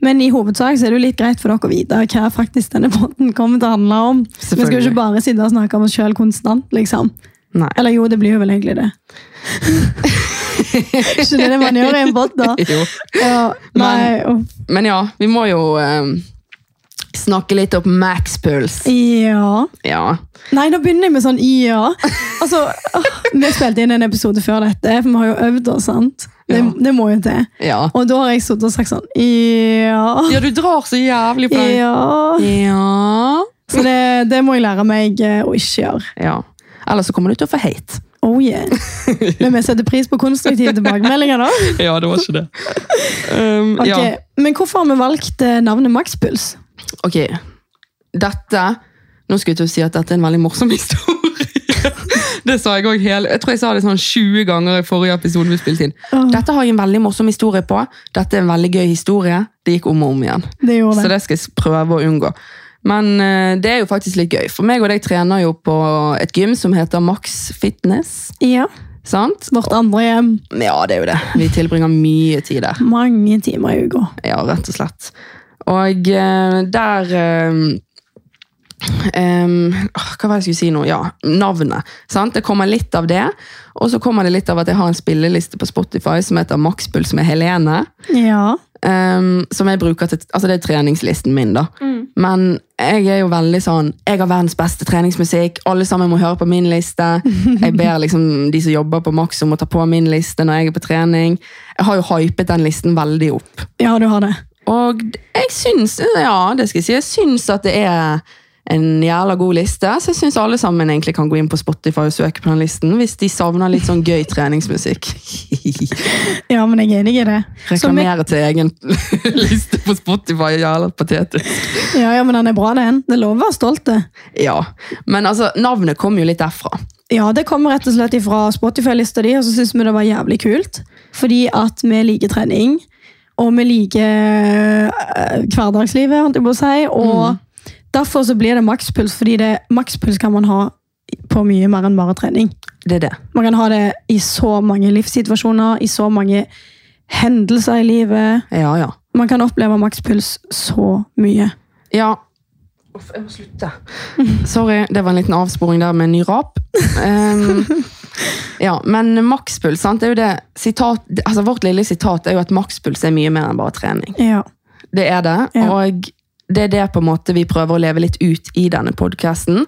[SPEAKER 1] Men i hovedsak så er det jo litt greit for dere å vite hva faktisk denne podden kommer til å handle om. Vi skal jo
[SPEAKER 2] Selvfølgelig.
[SPEAKER 1] ikke bare sitte og snakke om oss sjøl konstant, liksom.
[SPEAKER 2] Nei.
[SPEAKER 1] Eller jo, det blir jo vel egentlig
[SPEAKER 2] [laughs]
[SPEAKER 1] det. Ikke det det man gjør i en båt, da.
[SPEAKER 2] Jo.
[SPEAKER 1] Ja, nei, uff.
[SPEAKER 2] Men ja, vi må jo eh, snakke litt opp makspuls.
[SPEAKER 1] ja.
[SPEAKER 2] Ja.
[SPEAKER 1] Nei, nå begynner jeg med sånn ja. Altså, åh, Vi spilte inn en episode før dette, for vi har jo øvd oss, sant? Det,
[SPEAKER 2] Ja.
[SPEAKER 1] det må jo til.
[SPEAKER 2] Ja.
[SPEAKER 1] Og da har jeg sittet og sagt sånn ja.
[SPEAKER 2] ja, du drar så jævlig på den.
[SPEAKER 1] Ja.
[SPEAKER 2] Ja.
[SPEAKER 1] Så det, det må jeg lære meg eh, å ikke gjøre.
[SPEAKER 2] Ja. Ellers så kommer du til å få hate.
[SPEAKER 1] Oh yeah. Men vi setter pris på konstruktive tilbakemeldinger, da.
[SPEAKER 2] Ja, det var ikke det. Um,
[SPEAKER 1] Ok,
[SPEAKER 2] [laughs] ja.
[SPEAKER 1] Men hvorfor har vi valgt eh, navnet Makspuls?
[SPEAKER 2] Ok, dette Nå skulle jeg til å si at dette er en veldig morsom [laughs] historie. det sa jeg òg hele Jeg tror jeg sa det sånn 20 ganger i forrige episode vi spilte inn.
[SPEAKER 1] Åh.
[SPEAKER 2] Dette har jeg en veldig morsom historie på. Dette er en veldig gøy historie. Det gikk om og om igjen.
[SPEAKER 1] Det gjorde det.
[SPEAKER 2] Så det skal jeg prøve å unngå. Men eh, det er jo faktisk litt gøy, for meg og deg trener jo på et gym som heter Max Fitness.
[SPEAKER 1] Ja.
[SPEAKER 2] Sant?
[SPEAKER 1] Vårt andre hjem.
[SPEAKER 2] Ja, det er jo det. Vi tilbringer mye tid der.
[SPEAKER 1] Mange timer i uka.
[SPEAKER 2] Ja, rett og slett. Og eh, der eh, em, åh, Hva var det jeg skulle si nå? Ja, navnet. Sant? Det kommer litt av det. Og så kommer det litt av at jeg har en spilleliste på Spotify som heter Maxpuls med Helene.
[SPEAKER 1] Ja.
[SPEAKER 2] em, som jeg bruker til, altså Det er treningslisten min, da.
[SPEAKER 1] Mm.
[SPEAKER 2] Men jeg er jo veldig sånn Jeg har verdens beste treningsmusikk. Alle sammen må høre på min liste. Jeg ber liksom de som jobber på Max om å ta på min liste når jeg er på trening. Jeg har jo hypet den listen veldig opp.
[SPEAKER 1] Ja, du har det.
[SPEAKER 2] Og jeg syns, ja, det skal jeg si, jeg syns at det er en jævla god liste, så jeg syns alle sammen egentlig kan gå inn på Spotify og søke på den listen hvis de savner litt sånn gøy [laughs] treningsmusikk.
[SPEAKER 1] Ja, men jeg er enig i det. Så vi-
[SPEAKER 2] Reklamere til egen [laughs] liste på Spotify er jævla patetisk.
[SPEAKER 1] Ja, ja, men den er bra, den. Det er lov å være stolt. det.
[SPEAKER 2] Ja, men altså, navnet kom jo litt derfra.
[SPEAKER 1] Ja, det kommer rett og slett ifra Spotify-lista di, og så syns vi det var jævlig kult. Fordi at vi liker trening, og vi liker eh, hverdagslivet, holdt jeg på å si. Og derfor så blir det makspuls, fordi det, makspuls kan man ha på mye mer enn bare trening.
[SPEAKER 2] Det er det.
[SPEAKER 1] Man kan ha det i så mange livssituasjoner, i så mange hendelser i livet.
[SPEAKER 2] Ja, ja.
[SPEAKER 1] Man kan oppleve makspuls så mye.
[SPEAKER 2] Ja. Uff, jeg må slutte. [laughs] Sorry, det var en liten avsporing der med en ny rap.
[SPEAKER 1] [laughs]
[SPEAKER 2] Ehm, ja, men makspuls, sant? Det er jo det, sitat, altså vårt lille sitat er jo at makspuls er mye mer enn bare trening.
[SPEAKER 1] Ja.
[SPEAKER 2] Det er det,
[SPEAKER 1] Ja.
[SPEAKER 2] og det er det på en måte vi prøver å leve litt ut i denne podcasten.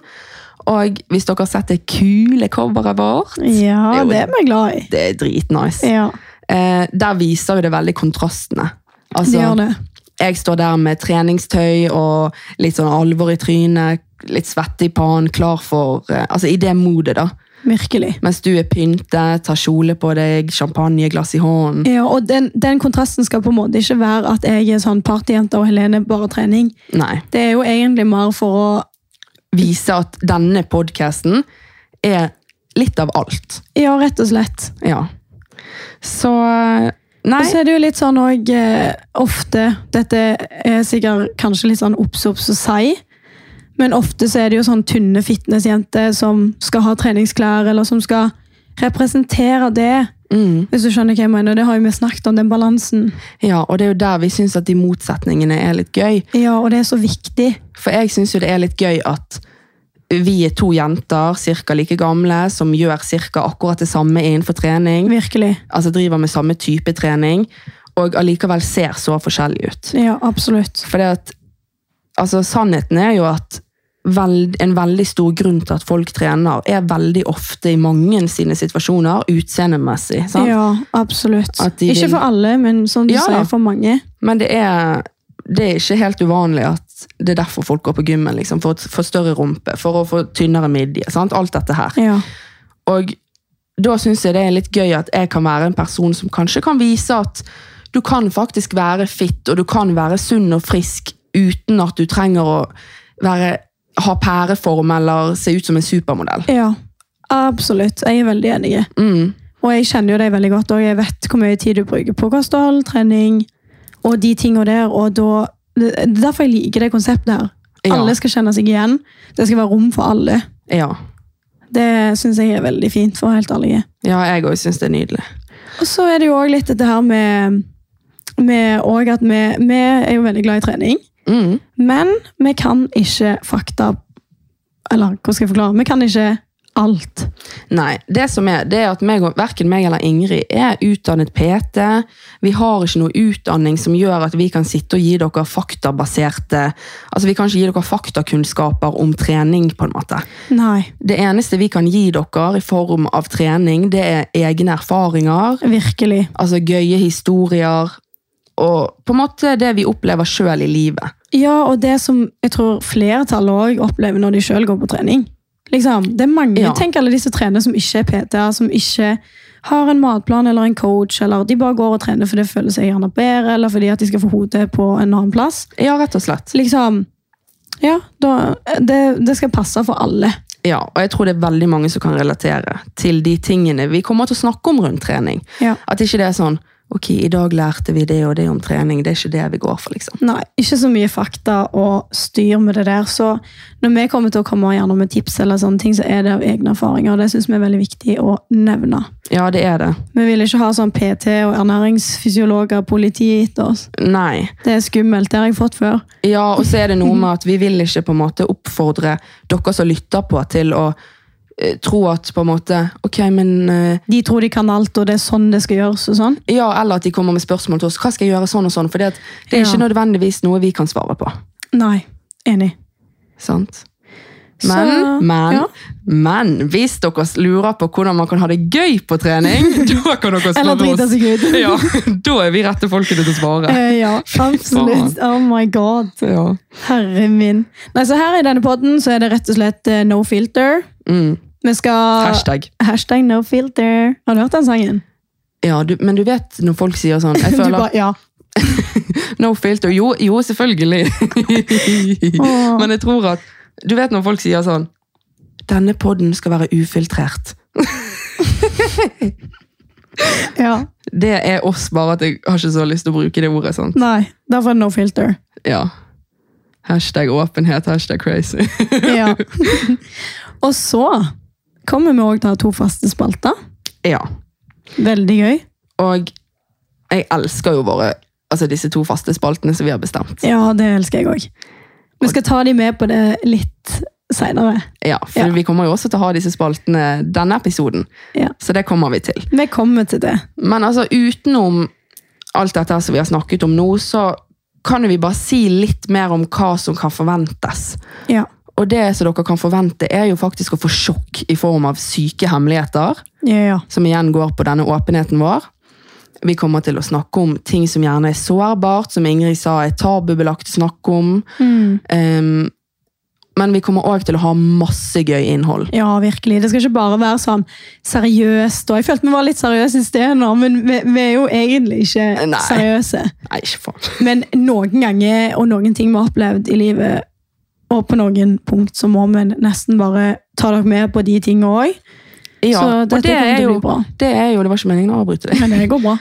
[SPEAKER 2] Og hvis dere har sett det kule coveret vårt,
[SPEAKER 1] Ja, det er vi glad i.
[SPEAKER 2] det er dritnice.
[SPEAKER 1] Ja,
[SPEAKER 2] Eh, der viser jo det veldig kontrastene.
[SPEAKER 1] det
[SPEAKER 2] Altså,
[SPEAKER 1] gjør det.
[SPEAKER 2] jeg står der med treningstøy og litt sånn alvor i trynet, litt svette i pannen, klar for eh, Altså i det modet, da.
[SPEAKER 1] Virkelig.
[SPEAKER 2] Mens du er pyntet, tar kjole på deg, champagneglass i hånden.
[SPEAKER 1] Ja, og den, den kontrasten skal på en måte ikke være at jeg er sånn partyjente og Helene bare trening.
[SPEAKER 2] Nei.
[SPEAKER 1] Det er jo egentlig mer for å
[SPEAKER 2] Vise at denne podkasten er litt av alt.
[SPEAKER 1] Ja, rett og slett.
[SPEAKER 2] Ja. Så eh, Nei.
[SPEAKER 1] Og så er det jo litt sånn òg eh, ofte Dette er sikkert kanskje litt sånn obs-obs å si, men ofte så er det jo sånn tynne fitnessjenter som skal ha treningsklær, eller som skal representere det.
[SPEAKER 2] Mm.
[SPEAKER 1] Hvis du skjønner hva jeg mener. Det har jo vi snakket om, den balansen.
[SPEAKER 2] Ja, og det er jo der vi syns at de motsetningene er litt gøy.
[SPEAKER 1] Ja, og det er så viktig.
[SPEAKER 2] For jeg syns jo det er litt gøy at vi er to jenter, cirka like gamle, som gjør cirka akkurat det samme innenfor trening.
[SPEAKER 1] Virkelig.
[SPEAKER 2] Altså driver med samme type trening, og allikevel ser så forskjellig ut.
[SPEAKER 1] Ja, absolutt.
[SPEAKER 2] Fordi at altså, Sannheten er jo at veld, en veldig stor grunn til at folk trener, er veldig ofte i mange sine situasjoner utseendemessig. sant?
[SPEAKER 1] Ja, absolutt.
[SPEAKER 2] At de
[SPEAKER 1] Ikke
[SPEAKER 2] vil-
[SPEAKER 1] for alle, men som du
[SPEAKER 2] Ja, da.
[SPEAKER 1] sier, for mange.
[SPEAKER 2] Men det er, det er ikke helt uvanlig at det er derfor folk går på gymmen. Liksom, for å få større rumpe, for å få tynnere midje. sant? Alt dette her.
[SPEAKER 1] Ja.
[SPEAKER 2] Og da syns jeg det er litt gøy at jeg kan være en person som kanskje kan vise at du kan faktisk være fit, og du kan være sunn og frisk uten at du trenger å være, ha pæreform eller se ut som en supermodell.
[SPEAKER 1] ja. Absolutt. Jeg er veldig enig.
[SPEAKER 2] Mm.
[SPEAKER 1] Og jeg kjenner jo deg veldig godt, og jeg vet hvor mye tid du bruker på kosthold, trening og de tingene der. og da, Det det er derfor jeg liker det konseptet her.
[SPEAKER 2] Ja.
[SPEAKER 1] Alle skal kjenne seg igjen. Det skal være rom for alle.
[SPEAKER 2] Ja.
[SPEAKER 1] Det syns jeg er veldig fint, for å være helt ærlig.
[SPEAKER 2] ja, jeg òg syns det er nydelig.
[SPEAKER 1] Og så er det jo òg litt dette her med, med og at vi, vi er jo veldig glad i trening,
[SPEAKER 2] Mm.
[SPEAKER 1] men vi kan ikke fakta Eller hvordan skal jeg forklare? Vi kan ikke alt.
[SPEAKER 2] Nei, det som er, det er at meg, og- hverken meg eller Ingrid er utdannet PT. Vi har ikke noe utdanning som gjør at vi kan sitte og gi dere faktabaserte Altså, vi kan ikke gi dere faktakunnskaper om trening, på en måte.
[SPEAKER 1] Nei,
[SPEAKER 2] Det eneste vi kan gi dere i form av trening, det er egne erfaringer,
[SPEAKER 1] virkelig.
[SPEAKER 2] altså gøye historier, og på en måte det vi opplever sjøl i livet.
[SPEAKER 1] Ja, og det som jeg tror flertallet òg opplever når de sjøl går på trening. Liksom, det er mange,
[SPEAKER 2] Ja.
[SPEAKER 1] Tenk alle de som trener som ikke er PT-er, som ikke har en matplan eller en coach, eller de bare går og trener fordi det føler seg gjerne bedre, eller fordi at de skal få hodet på en annen plass.
[SPEAKER 2] Ja, rett og slett.
[SPEAKER 1] Liksom, ja, da, det, det skal passe for alle.
[SPEAKER 2] Ja, og jeg tror det er veldig mange som kan relatere til de tingene vi kommer til å snakke om rundt trening.
[SPEAKER 1] Ja.
[SPEAKER 2] At ikke det er sånn Ok, i dag lærte vi det og det om trening. Det er ikke det vi går for, liksom.
[SPEAKER 1] Nei, ikke så mye fakta og styr med det der. Så når vi kommer til å komme gjerne med tips, eller sånne ting, så er det av egne erfaringer. og Det syns vi er veldig viktig å nevne.
[SPEAKER 2] Ja, det er det.
[SPEAKER 1] Vi vil ikke ha sånn PT og ernæringsfysiologer og politi etter oss.
[SPEAKER 2] Nei.
[SPEAKER 1] Det er skummelt. Det har jeg fått før.
[SPEAKER 2] Ja, og så er det noe med at vi vil ikke på en måte oppfordre dere som lytter på, til å eh, tro at på en måte Ok, men eh,
[SPEAKER 1] De tror de kan alt, og det er sånn det skal gjøres. og sånn.
[SPEAKER 2] Ja, eller at de kommer med spørsmål til oss. Hva skal jeg gjøre sånn og sånn? For det er ikke
[SPEAKER 1] Ja.
[SPEAKER 2] nødvendigvis noe vi kan svare på.
[SPEAKER 1] Nei, enig.
[SPEAKER 2] Sant?
[SPEAKER 1] Så-
[SPEAKER 2] Men, men,
[SPEAKER 1] ja.
[SPEAKER 2] men hvis dere lurer på hvordan man kan ha det gøy på trening, [laughs] da kan dere spørre
[SPEAKER 1] Eller drite
[SPEAKER 2] oss.
[SPEAKER 1] seg ut.
[SPEAKER 2] [laughs] Ja, da er vi rette folkene til å svare.
[SPEAKER 1] [laughs] Eh, ja, absolutt. Oh my god.
[SPEAKER 2] Ja.
[SPEAKER 1] Herre min. Nei, så her i denne podden så er det rett og slett eh, no filter.
[SPEAKER 2] Mm.
[SPEAKER 1] Vi skal...
[SPEAKER 2] Hashtag.
[SPEAKER 1] Hashtag no filter. Har du hørt den sangen?
[SPEAKER 2] Ja, du, men du vet når folk sier sånn
[SPEAKER 1] [laughs]
[SPEAKER 2] Jeg
[SPEAKER 1] Du
[SPEAKER 2] føler
[SPEAKER 1] bare, ja.
[SPEAKER 2] no filter. Jo, jo selvfølgelig.
[SPEAKER 1] [laughs] Åh.
[SPEAKER 2] men jeg tror at Du vet når folk sier sånn Denne podden skal være ufiltrert.
[SPEAKER 1] ja.
[SPEAKER 2] Det er oss, bare at jeg har ikke så lyst til å bruke det ordet. sant?
[SPEAKER 1] Nei, derfor er det no filter.
[SPEAKER 2] Ja. Hashtag åpenhet, hashtag crazy. [laughs]
[SPEAKER 1] [laughs] Ja. Og så kommer vi også til å ha to faste spalter.
[SPEAKER 2] ja.
[SPEAKER 1] Veldig gøy.
[SPEAKER 2] Og jeg elsker jo våre Altså disse to faste spaltene som vi har bestemt.
[SPEAKER 1] Ja, det elsker jeg også. Vi skal ta de med på det litt senere.
[SPEAKER 2] Ja, For
[SPEAKER 1] Ja.
[SPEAKER 2] vi kommer jo også til å ha disse spaltene denne episoden.
[SPEAKER 1] Ja.
[SPEAKER 2] Så det kommer vi til.
[SPEAKER 1] Vi kommer til det.
[SPEAKER 2] Men altså, utenom alt dette her som vi har snakket om nå, så kan jo vi bare si litt mer om hva som kan forventes.
[SPEAKER 1] Ja.
[SPEAKER 2] Og det som dere kan forvente, er jo faktisk å få sjokk i form av syke hemmeligheter,
[SPEAKER 1] Ja, ja.
[SPEAKER 2] som igjen går på denne åpenheten vår. Vi kommer til å snakke om ting som gjerne er sårbart, som Ingrid sa er tabubelagt å snakke om.
[SPEAKER 1] Mm.
[SPEAKER 2] Ehm, men vi kommer òg til å ha masse gøy innhold.
[SPEAKER 1] Ja, virkelig. Det skal ikke bare være sånn seriøst. Og jeg følte vi var litt seriøse i sted nå, men vi, vi er jo egentlig ikke
[SPEAKER 2] Nei.
[SPEAKER 1] seriøse.
[SPEAKER 2] Nei, ikke faen.
[SPEAKER 1] Men noen ganger og noen ting vi har opplevd i livet, og på noen punkt, så må vi nesten bare ta dere med på de tingene òg.
[SPEAKER 2] Ja,
[SPEAKER 1] så
[SPEAKER 2] og
[SPEAKER 1] dette
[SPEAKER 2] det
[SPEAKER 1] kommer til
[SPEAKER 2] er
[SPEAKER 1] å
[SPEAKER 2] jo
[SPEAKER 1] bli bra.
[SPEAKER 2] det er jo, det var ikke meningen å avbryte deg.
[SPEAKER 1] Men det går bra.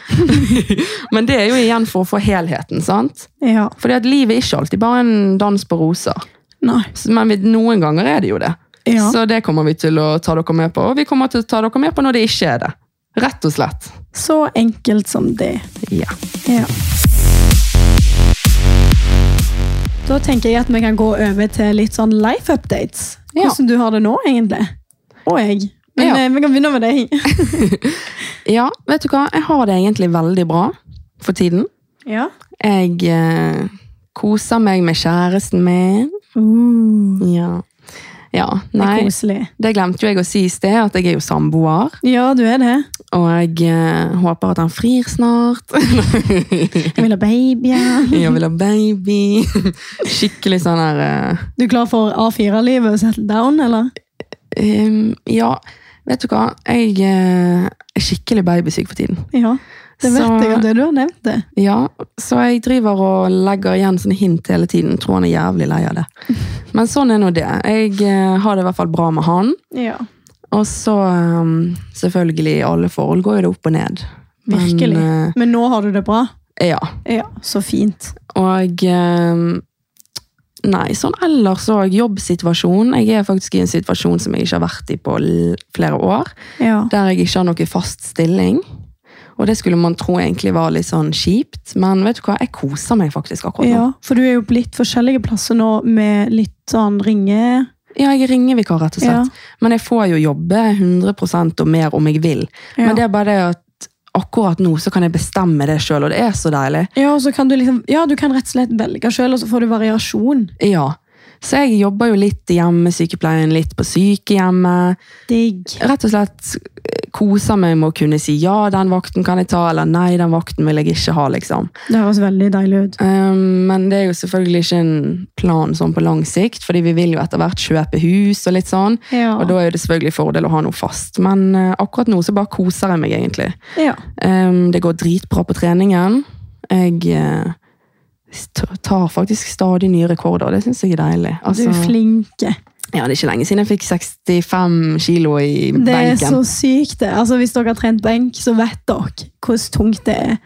[SPEAKER 2] Men det er jo igjen for å få helheten, sant?
[SPEAKER 1] Ja.
[SPEAKER 2] Fordi at livet er ikke alltid bare en dans på roser.
[SPEAKER 1] Nei.
[SPEAKER 2] S- Men vi- noen ganger er det jo det.
[SPEAKER 1] Ja.
[SPEAKER 2] Så det kommer vi til å ta dere med på, og vi kommer til å ta dere med på når det ikke er det. Rett og slett.
[SPEAKER 1] Så enkelt som det.
[SPEAKER 2] Ja.
[SPEAKER 1] Ja. Da tenker jeg at vi kan gå over til litt sånn life updates.
[SPEAKER 2] Ja.
[SPEAKER 1] hvordan du har det nå, egentlig. Og jeg. Men
[SPEAKER 2] Ja.
[SPEAKER 1] eh, vi kan begynne med deg. [laughs]
[SPEAKER 2] Ja, vet du hva? Jeg har det egentlig veldig bra for tiden.
[SPEAKER 1] Ja.
[SPEAKER 2] Jeg eh, koser meg med kjæresten min.
[SPEAKER 1] Uh,
[SPEAKER 2] Ja. ja.
[SPEAKER 1] det er
[SPEAKER 2] Nei,
[SPEAKER 1] koselig.
[SPEAKER 2] det glemte jo jeg å si i sted, at jeg er jo samboer.
[SPEAKER 1] Ja, du er det.
[SPEAKER 2] Og jeg eh, håper at han frir snart.
[SPEAKER 1] Jeg vil ha babyer.
[SPEAKER 2] Jeg vil ha baby. [laughs] Skikkelig sånn her eh,
[SPEAKER 1] Du er klar for A4-livet og settle down, eller?
[SPEAKER 2] ehm, Ja, vet du hva? Jeg eh, er skikkelig babysyk for tiden.
[SPEAKER 1] Ja. Det vet
[SPEAKER 2] Så-
[SPEAKER 1] jeg at det du har nevnt det.
[SPEAKER 2] Ja, så jeg driver og legger igjen sånne hint hele tiden. Tror han er jævlig lei av det. Men sånn er nå det. Jeg eh, har det i hvert fall bra med han.
[SPEAKER 1] Ja.
[SPEAKER 2] Og så um, selvfølgelig, i alle forhold går jo det opp og ned. Men,
[SPEAKER 1] Virkelig.
[SPEAKER 2] eh,
[SPEAKER 1] Men nå har du det bra?
[SPEAKER 2] ja.
[SPEAKER 1] Ja. Så fint.
[SPEAKER 2] Og um, Nei, sånn ellers òg. Jobbsituasjon. Jeg er faktisk i en situasjon som jeg ikke har vært i på l- flere år.
[SPEAKER 1] Ja.
[SPEAKER 2] Der jeg ikke har noe fast stilling. Og det skulle man tro egentlig var litt sånn kjipt, men vet du hva, jeg koser meg faktisk akkurat nå.
[SPEAKER 1] ja. For du er jo på litt forskjellige plasser nå, med litt sånn ringe...
[SPEAKER 2] Ja, jeg er ringevikar, rett og slett.
[SPEAKER 1] Ja.
[SPEAKER 2] Men jeg får jo jobbe 100 og mer om jeg vil.
[SPEAKER 1] Ja.
[SPEAKER 2] Men det er bare det at akkurat nå så kan jeg bestemme det sjøl, og det er så deilig.
[SPEAKER 1] Ja, og så kan du liksom, ja, du kan rett og slett velge sjøl, og så får du variasjon.
[SPEAKER 2] Ja. Så jeg jobber jo litt i hjemmesykepleien, litt på sykehjemmet.
[SPEAKER 1] Digg.
[SPEAKER 2] Rett og slett eh, koser meg med å kunne si ja, den vakten kan jeg ta, eller nei, den vakten vil jeg ikke ha, liksom.
[SPEAKER 1] Det høres veldig deilig ut.
[SPEAKER 2] Um, men det er jo selvfølgelig ikke en plan sånn på lang sikt, fordi vi vil jo etter hvert kjøpe hus og litt sånn.
[SPEAKER 1] Ja.
[SPEAKER 2] Og da er det selvfølgelig fordel å ha noe fast. Men eh, akkurat nå så bare koser jeg meg egentlig.
[SPEAKER 1] ja.
[SPEAKER 2] Um, det går dritbra på treningen. Jeg eh, st- tar faktisk stadig nye rekorder, og det syns jeg er deilig. Altså,
[SPEAKER 1] Du er flinke.
[SPEAKER 2] Ja, det er ikke lenge siden jeg fikk 65 kilo i
[SPEAKER 1] Det er
[SPEAKER 2] benken.
[SPEAKER 1] så sykt, det. Altså, hvis dere har trent benk, så vet dere hvor tungt det er.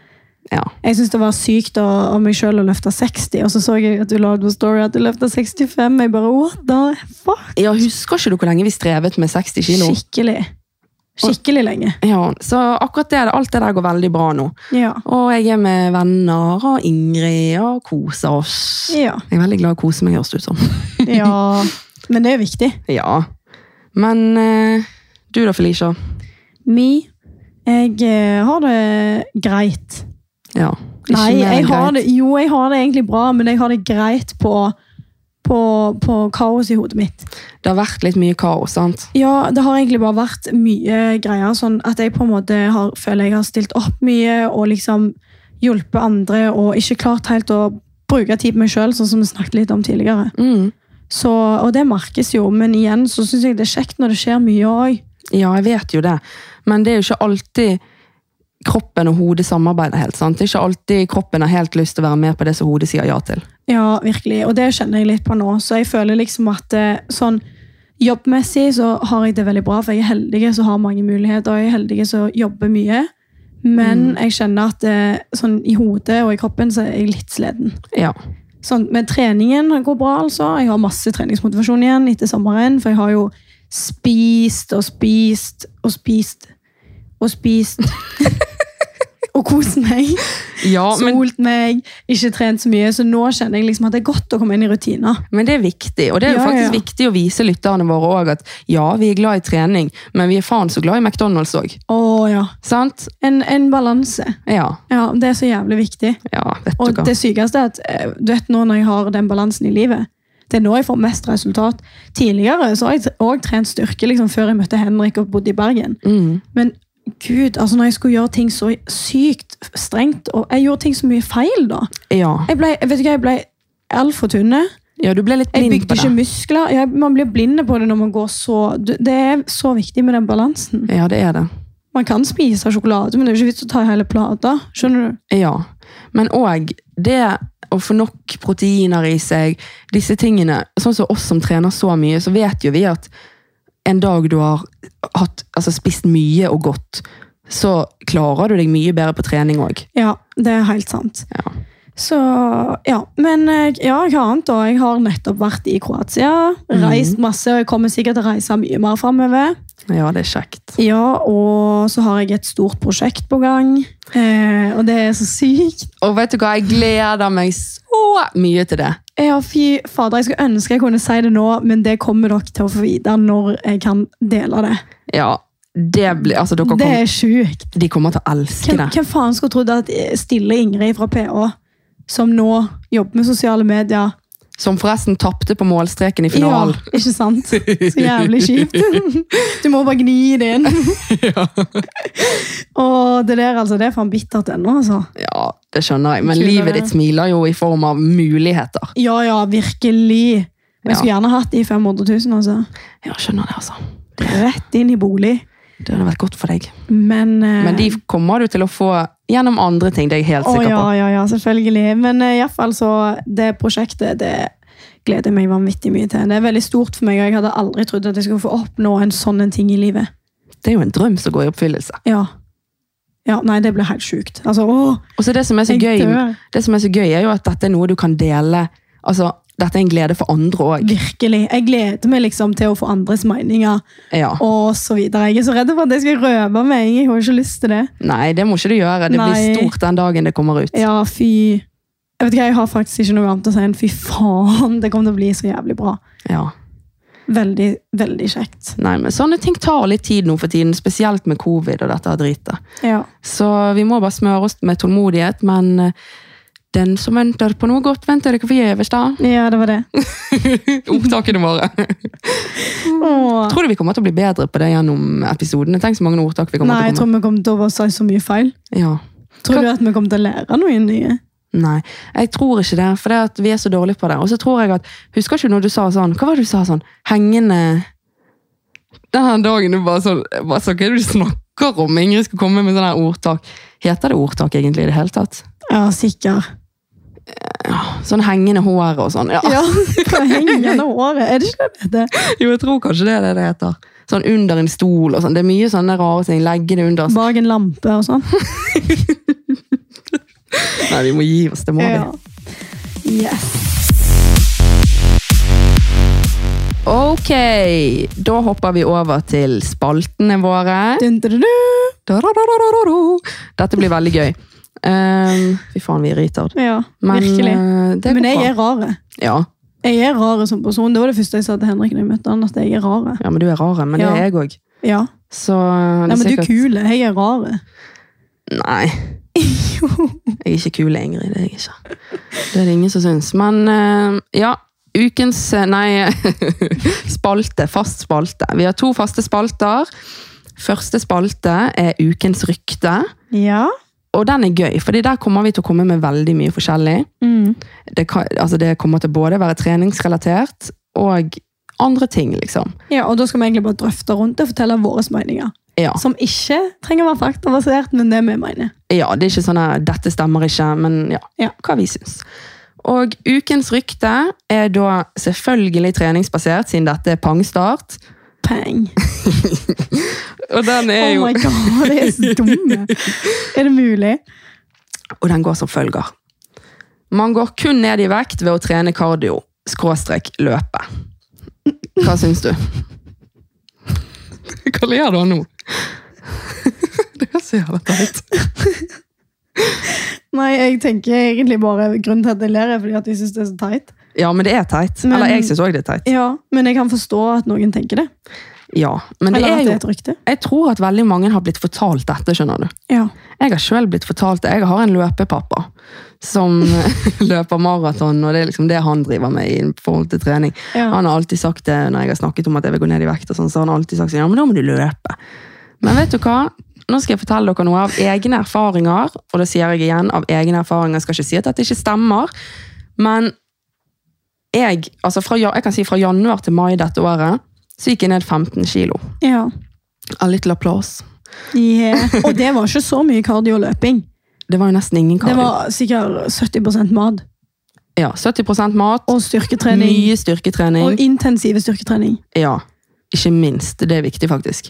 [SPEAKER 2] Ja.
[SPEAKER 1] Jeg syns det var sykt av av meg sjøl å løfte 60, og så så jeg at du la ut på Story at du løfta 65. Jeg bare what the fuck?
[SPEAKER 2] Jeg husker ikke du hvor lenge vi strevet med 60 kilo?
[SPEAKER 1] Skikkelig. Skikkelig lenge.
[SPEAKER 2] Ja, så akkurat det, alt det der går veldig bra nå.
[SPEAKER 1] Ja.
[SPEAKER 2] Og jeg er med venner og Ingrid og koser oss.
[SPEAKER 1] Ja.
[SPEAKER 2] Jeg er veldig glad i å kose meg, høres det ut som.
[SPEAKER 1] ja. [laughs] Men det er jo viktig.
[SPEAKER 2] Ja. Men eh, du da, Felicia?
[SPEAKER 1] Me. Jeg eh, har det greit.
[SPEAKER 2] Ja. Ikke
[SPEAKER 1] Nei,
[SPEAKER 2] mer enn
[SPEAKER 1] jeg har
[SPEAKER 2] greit.
[SPEAKER 1] det, jo, jeg har det egentlig bra, men jeg har det greit på, på, på kaos i hodet mitt.
[SPEAKER 2] Det har vært litt mye kaos, sant?
[SPEAKER 1] Ja, det har egentlig bare vært mye greier, sånn at jeg på en måte har, føler jeg har stilt opp mye, og liksom hjulpet andre, og ikke klart helt å bruke tid på meg selv, sånn som vi snakket litt om tidligere.
[SPEAKER 2] Mm.
[SPEAKER 1] Så, og det merkes jo, men igjen så synes jeg det er kjekt når det skjer mye også.
[SPEAKER 2] Ja, jeg vet jo det. Men det er jo ikke alltid kroppen og hodet samarbeider helt. sant? Det er ikke alltid kroppen har helt lyst til å være med på det som hodet sier ja til.
[SPEAKER 1] Ja, virkelig. Og det kjenner jeg litt på nå. Så jeg føler liksom at eh, sånn jobbmessig så har jeg det veldig bra, for jeg er heldig så har mange muligheter, og jeg er heldig så jobber mye. Men jeg kjenner at eh, sånn i hodet og i kroppen så er jeg litt sliten.
[SPEAKER 2] Ja,
[SPEAKER 1] Sånn, men treningen går bra, altså. Jeg har masse treningsmotivasjon igjen etter sommeren, for jeg har jo spist og spist og spist og spist. og kost meg
[SPEAKER 2] ja men,
[SPEAKER 1] solt meg, ikke trent så mye. Så nå kjenner jeg liksom at det er godt å komme inn i rutiner.
[SPEAKER 2] men det er viktig. Og det er
[SPEAKER 1] Ja,
[SPEAKER 2] jo faktisk
[SPEAKER 1] ja.
[SPEAKER 2] viktig å vise lytterne våre òg at ja, vi er glad i trening, men vi er faen så glad i McDonald's òg.
[SPEAKER 1] Å ja.
[SPEAKER 2] Sant?
[SPEAKER 1] En, en balanse.
[SPEAKER 2] Ja.
[SPEAKER 1] Ja, Det er så jævlig viktig.
[SPEAKER 2] Ja, vet
[SPEAKER 1] Og
[SPEAKER 2] du hva.
[SPEAKER 1] det sykeste er at eh, du vet nå når jeg har den balansen i livet, det er nå jeg får mest resultat. Tidligere så har jeg òg trent styrke liksom, før jeg møtte Henrik og bodde i Bergen.
[SPEAKER 2] Mm.
[SPEAKER 1] Men gud, altså når jeg skulle gjøre ting så sykt strengt, og jeg gjorde ting så mye feil da.
[SPEAKER 2] Ja.
[SPEAKER 1] Jeg ble, vet du hva, jeg ble altfor tynne.
[SPEAKER 2] ja, du ble litt
[SPEAKER 1] Jeg
[SPEAKER 2] blind
[SPEAKER 1] bygde
[SPEAKER 2] på
[SPEAKER 1] ikke
[SPEAKER 2] det.
[SPEAKER 1] muskler. Jeg, man blir blinde på det når man går så du- Det er så viktig med den balansen.
[SPEAKER 2] Ja, det er det.
[SPEAKER 1] Man kan spise sjokolade, men det er jo ikke vits å ta hele plata. Skjønner du?
[SPEAKER 2] Ja, men òg det å få nok proteiner i seg, disse tingene. Sånn som oss som trener så mye, så vet jo vi at en dag du har hatt, altså spist mye og godt, så klarer du deg mye bedre på trening òg.
[SPEAKER 1] Ja, det er helt sant.
[SPEAKER 2] Ja.
[SPEAKER 1] Så, ja. Men eh, ja, jeg har annet, og jeg har nettopp vært i Kroatia.
[SPEAKER 2] Mhm.
[SPEAKER 1] Reist masse, og jeg kommer sikkert til å reise mye mer framover.
[SPEAKER 2] ja, det er kjekt.
[SPEAKER 1] Ja, og så har jeg et stort prosjekt på gang, eh, og det er så sykt.
[SPEAKER 2] Og vet du hva, jeg gleder meg så mye til det.
[SPEAKER 1] Ja, fy fader, jeg skulle ønske jeg kunne si det nå, men det kommer dere til å få vite når jeg kan dele det.
[SPEAKER 2] Ja, det blir, altså, dere
[SPEAKER 1] Det
[SPEAKER 2] kommer-
[SPEAKER 1] er sjukt.
[SPEAKER 2] de kommer til å elske
[SPEAKER 1] Hvem,
[SPEAKER 2] det.
[SPEAKER 1] hvem faen skulle trodd at stille Ingrid fra PH, som nå jobber med sosiale medier
[SPEAKER 2] Som forresten tapte på målstreken i finalen.
[SPEAKER 1] Ja, ikke sant? Så jævlig kjipt.
[SPEAKER 2] [laughs]
[SPEAKER 1] Du må bare gni det inn.
[SPEAKER 2] Ja.
[SPEAKER 1] Og det der, altså, det er faen bittert ennå, altså.
[SPEAKER 2] Ja, det skjønner jeg. Men
[SPEAKER 1] Kulere.
[SPEAKER 2] livet ditt smiler jo i form av muligheter.
[SPEAKER 1] Ja, ja, virkelig. Men jeg skulle gjerne hatt de 500 000, altså.
[SPEAKER 2] Ja, skjønner det, altså.
[SPEAKER 1] Rett inn i bolig.
[SPEAKER 2] Det hadde vært godt for deg.
[SPEAKER 1] Men, eh,
[SPEAKER 2] Men de kommer du til å få gjennom andre ting, det er jeg helt
[SPEAKER 1] Å
[SPEAKER 2] sikker
[SPEAKER 1] ja,
[SPEAKER 2] på.
[SPEAKER 1] ja, ja, selvfølgelig. Men eh, i hvert fall så det prosjektet det gleder jeg meg vanvittig mye til. Det er veldig stort for meg, og jeg hadde aldri trodd at jeg skulle få oppnå en sånn en ting i livet.
[SPEAKER 2] Det er jo en drøm som går i oppfyllelse.
[SPEAKER 1] Ja. ja nei, det ble helt sjukt. Altså, åh,
[SPEAKER 2] Og så det som er så
[SPEAKER 1] jeg
[SPEAKER 2] gøy,
[SPEAKER 1] dør.
[SPEAKER 2] det som er så gøy, er jo at dette er noe du kan dele. Altså, dette er en glede for andre òg.
[SPEAKER 1] Virkelig. Jeg gleder meg liksom til å få andres meninger
[SPEAKER 2] Ja.
[SPEAKER 1] og så videre. Jeg er så redd for at jeg skal røpe meg. Jeg har ikke lyst til det.
[SPEAKER 2] Nei, det må ikke du gjøre. Det
[SPEAKER 1] Nei.
[SPEAKER 2] blir stort den dagen det kommer ut.
[SPEAKER 1] Ja, fy. Jeg vet ikke, jeg har faktisk ikke noe annet å si enn fy faen. Det kommer til å bli så jævlig bra.
[SPEAKER 2] Ja.
[SPEAKER 1] Veldig, veldig kjekt.
[SPEAKER 2] Nei, men Sånne ting tar litt tid nå for tiden, spesielt med covid og dette dritet.
[SPEAKER 1] Ja.
[SPEAKER 2] Så vi må bare smøre oss med tålmodighet, men eh, den som venter på noe godt, venter ikke forgjeves, da. [laughs]
[SPEAKER 1] ja, det var det.
[SPEAKER 2] Ordtakene våre.
[SPEAKER 1] Åh.
[SPEAKER 2] [laughs] Tror du vi kommer til å bli bedre på det gjennom episodene? Tenk så mange ordtak vi kommer
[SPEAKER 1] Nei, jeg
[SPEAKER 2] til å komme.
[SPEAKER 1] tror vi kommer til å si så mye feil.
[SPEAKER 2] Ja.
[SPEAKER 1] Tror du at vi kommer til å lære noe nye?
[SPEAKER 2] Nei, jeg tror ikke det, for det at vi er så dårlige på det. Og så tror jeg at, Husker ikke når du sa sånn Hva var det du sa sånn? Hengende Denne dagen du bare sånn bare sånn, Hva er det du snakker om? Ingrid skal komme med sånne her ordtak. Heter det ordtak egentlig i det hele tatt?
[SPEAKER 1] Ja, sikkert.
[SPEAKER 2] Sånn hengende hår og sånn. Ja.
[SPEAKER 1] Ja, på hengende håret. Er det ikke det det heter?
[SPEAKER 2] [laughs] Jo, jeg tror kanskje det er det det heter. Sånn under en stol og sånn. Det er mye sånne rare ting. Legge det under.
[SPEAKER 1] Bak en lampe og sånn.
[SPEAKER 2] Nei, vi må gi oss. Det må vi.
[SPEAKER 1] Ja. Yes.
[SPEAKER 2] Ok, da hopper vi over til spaltene våre.
[SPEAKER 1] Dun, dun, dun, dun.
[SPEAKER 2] Da-da-da-da-da-da. Dette blir veldig gøy. Ehm, Fy faen, vi er retard.
[SPEAKER 1] Ja,
[SPEAKER 2] Men,
[SPEAKER 1] virkelig.
[SPEAKER 2] eh, det går
[SPEAKER 1] Men jeg
[SPEAKER 2] bra.
[SPEAKER 1] er rare.
[SPEAKER 2] ja.
[SPEAKER 1] Jeg er rare som person. Det var det første jeg sa til Henrik når jeg møtte han, at jeg er rare.
[SPEAKER 2] ja, men du er rar, men
[SPEAKER 1] Ja.
[SPEAKER 2] det er jeg òg.
[SPEAKER 1] Ja.
[SPEAKER 2] Så eh,
[SPEAKER 1] Nei,
[SPEAKER 2] det
[SPEAKER 1] men du
[SPEAKER 2] sikkert-
[SPEAKER 1] er kul. Jeg er rare.
[SPEAKER 2] [laughs] Nei. Jeg er ikke kul, Ingrid. Det er jeg ikke. Det er det ingen som syns. Men eh, ja. Ukens eh, Nei, [laughs] spalte. Fast spalte. Vi har to faste spalter. Første spalte er Ukens rykte.
[SPEAKER 1] Ja.
[SPEAKER 2] Og den er gøy, fordi der kommer vi til å komme med veldig mye forskjellig.
[SPEAKER 1] Mm.
[SPEAKER 2] det, kan, altså det kommer til både å være treningsrelatert og andre ting, liksom.
[SPEAKER 1] ja. Og da skal vi egentlig bare drøfte rundt det og fortelle våre meninger.
[SPEAKER 2] Ja,
[SPEAKER 1] Som ikke trenger å være faktabasert, men det vi mener.
[SPEAKER 2] ja det er ikke sånn her, dette stemmer ikke, men ja,
[SPEAKER 1] Ja.
[SPEAKER 2] hva vi syns. Og ukens rykte er da selvfølgelig treningsbasert, siden dette er pangstart.
[SPEAKER 1] Pang.
[SPEAKER 2] Og den, er
[SPEAKER 1] Oh
[SPEAKER 2] jo,
[SPEAKER 1] my god, det er så
[SPEAKER 2] [laughs]
[SPEAKER 1] dumme. Er det mulig?
[SPEAKER 2] og den går som følger. Man går kun ned i vekt ved å trene kardio, skråstrek løpe. Hva syns du? [laughs] Hva ler du av nå? [laughs] Det er så jævla teit.
[SPEAKER 1] Nei, jeg tenker egentlig bare grunnen til at jeg ler, er fordi at jeg syns det er så teit.
[SPEAKER 2] Ja, men det er teit.
[SPEAKER 1] Men-
[SPEAKER 2] Eller jeg syns òg det er teit.
[SPEAKER 1] Ja, Men jeg kan forstå at noen tenker det.
[SPEAKER 2] Ja, men det
[SPEAKER 1] Eller
[SPEAKER 2] er
[SPEAKER 1] at det
[SPEAKER 2] jo,
[SPEAKER 1] er et rykte.
[SPEAKER 2] jeg tror at veldig mange har blitt fortalt dette, skjønner du.
[SPEAKER 1] Ja.
[SPEAKER 2] Jeg har sjøl blitt fortalt det. Jeg har en løpepappa som [laughs] løper maraton, og det er liksom det han driver med i forhold til trening.
[SPEAKER 1] Ja.
[SPEAKER 2] Han har alltid sagt det når jeg har snakket om at jeg vil gå ned i vekt, og sånn, så han har alltid sagt sånn, ja, men da må du løpe. Men vet du hva? Nå skal jeg fortelle dere noe av egne erfaringer, og det sier jeg igjen av egne erfaringer. Jeg skal ikke si at dette ikke stemmer, men jeg, altså fra, ja- jeg kan si fra januar til mai dette året, så gikk jeg ned 15 kilo.
[SPEAKER 1] ja.
[SPEAKER 2] A little applause.
[SPEAKER 1] [laughs] Yeah. Og det var ikke så mye kardioløping.
[SPEAKER 2] Det var jo nesten ingen
[SPEAKER 1] Det
[SPEAKER 2] kardio.
[SPEAKER 1] var sikkert 70 mat
[SPEAKER 2] Ja, 70 mat,
[SPEAKER 1] og styrketrening.
[SPEAKER 2] mye styrketrening.
[SPEAKER 1] Og intensive styrketrening.
[SPEAKER 2] Ja, ikke minst. Det er viktig, faktisk.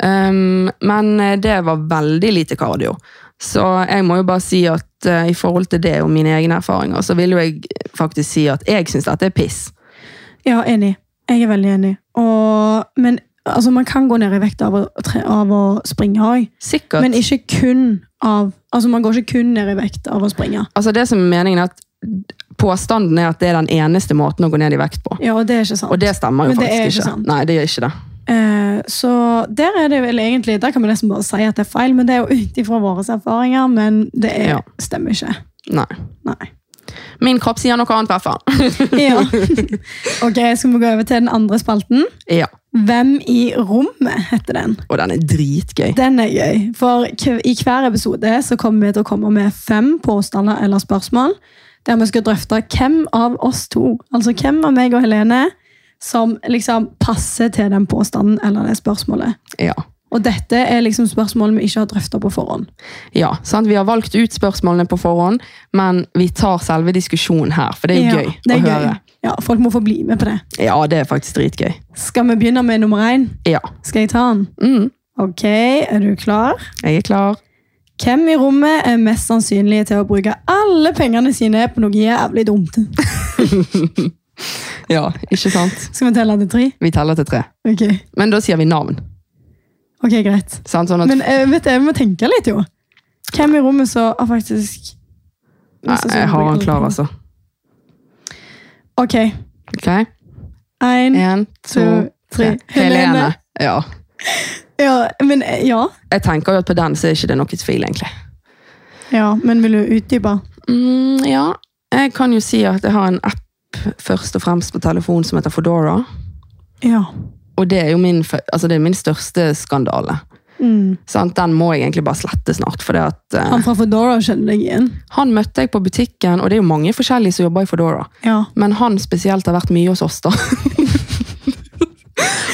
[SPEAKER 2] Ehm, men det var veldig lite kardio. Så jeg må jo bare si at eh, i forhold til det og mine egne erfaringer, så vil jo jeg faktisk si at jeg syns dette er piss.
[SPEAKER 1] Ja, enig. Jeg er veldig enig. Og, men altså, man kan gå ned i vekt av å, tre, av å springe òg.
[SPEAKER 2] Sikkert.
[SPEAKER 1] Men ikke kun av Altså, man går ikke kun ned i vekt av å springe.
[SPEAKER 2] altså det som er meningen er at påstanden er at det er den eneste måten å gå ned i vekt på.
[SPEAKER 1] Ja, og det er ikke sant.
[SPEAKER 2] Og det stemmer jo
[SPEAKER 1] Men det er
[SPEAKER 2] faktisk
[SPEAKER 1] ikke
[SPEAKER 2] ikke.
[SPEAKER 1] sant.
[SPEAKER 2] Nei, det er ikke det.
[SPEAKER 1] Eh, så der er det vel egentlig Der kan vi nesten bare si at det er feil, men det er jo ut ifra våre erfaringer. Men det er,
[SPEAKER 2] Ja.
[SPEAKER 1] stemmer ikke.
[SPEAKER 2] Nei.
[SPEAKER 1] Nei.
[SPEAKER 2] Min kropp sier noe annet, i hvert fall. [laughs]
[SPEAKER 1] Ja. [laughs] ok, skal vi gå over til den andre spalten?
[SPEAKER 2] ja.
[SPEAKER 1] Hvem i rommet heter den?
[SPEAKER 2] Og den er dritgøy.
[SPEAKER 1] Den er gøy, for k- i hver episode så kommer vi til å komme med fem påstander eller spørsmål, der vi skal drøfte hvem av oss to, altså hvem av meg og Helene, som liksom passer til den påstanden eller det spørsmålet.
[SPEAKER 2] Ja.
[SPEAKER 1] Og dette er liksom spørsmål vi ikke har drøftet på forhånd.
[SPEAKER 2] ja sant? Vi har valgt ut spørsmålene på forhånd, men vi tar selve diskusjonen her, for det er
[SPEAKER 1] Ja,
[SPEAKER 2] gøy
[SPEAKER 1] det er
[SPEAKER 2] å
[SPEAKER 1] gøy.
[SPEAKER 2] høre.
[SPEAKER 1] Ja, folk må få bli med på det.
[SPEAKER 2] Ja, det er faktisk dritgøy.
[SPEAKER 1] Skal vi begynne med nummer én?
[SPEAKER 2] Ja.
[SPEAKER 1] Skal jeg ta den?
[SPEAKER 2] Mm.
[SPEAKER 1] Ok, er du klar?
[SPEAKER 2] Jeg er klar.
[SPEAKER 1] Hvem i rommet er mest sannsynlig til å bruke alle pengene sine på noe jævlig dumt?
[SPEAKER 2] Ja, ikke sant?
[SPEAKER 1] Skal vi telle til tre?
[SPEAKER 2] Vi teller til tre.
[SPEAKER 1] Ok,
[SPEAKER 2] Men da sier vi navn.
[SPEAKER 1] ok, greit.
[SPEAKER 2] Sant? Sånn at,
[SPEAKER 1] Men eh, vet du, jeg må tenke litt, jo. Hvem i rommet så har faktisk
[SPEAKER 2] Nei, jeg har han klar, altså.
[SPEAKER 1] Ok.
[SPEAKER 2] Ok,
[SPEAKER 1] Én,
[SPEAKER 2] En,
[SPEAKER 1] to,
[SPEAKER 2] to,
[SPEAKER 1] tre.
[SPEAKER 2] tre. Helene. Ja.
[SPEAKER 1] Ja, men eh, ja.
[SPEAKER 2] Jeg tenker jo at på den så er ikke det noe tvil, egentlig.
[SPEAKER 1] ja. Men vil du utdype?
[SPEAKER 2] Mm, ja, jeg kan jo si at jeg har en app først og fremst på telefon som heter Fodora.
[SPEAKER 1] Ja.
[SPEAKER 2] Og det er jo min, fø- altså det er min største skandale.
[SPEAKER 1] Mm.
[SPEAKER 2] Sant? Den må jeg egentlig bare slette snart. For det at, eh,
[SPEAKER 1] Han fra Foodora kjenner deg igjen.
[SPEAKER 2] han møtte jeg på butikken, og det er jo mange forskjellige som jobber i Fodora.
[SPEAKER 1] Ja.
[SPEAKER 2] Men han spesielt har vært mye hos oss, da. [laughs]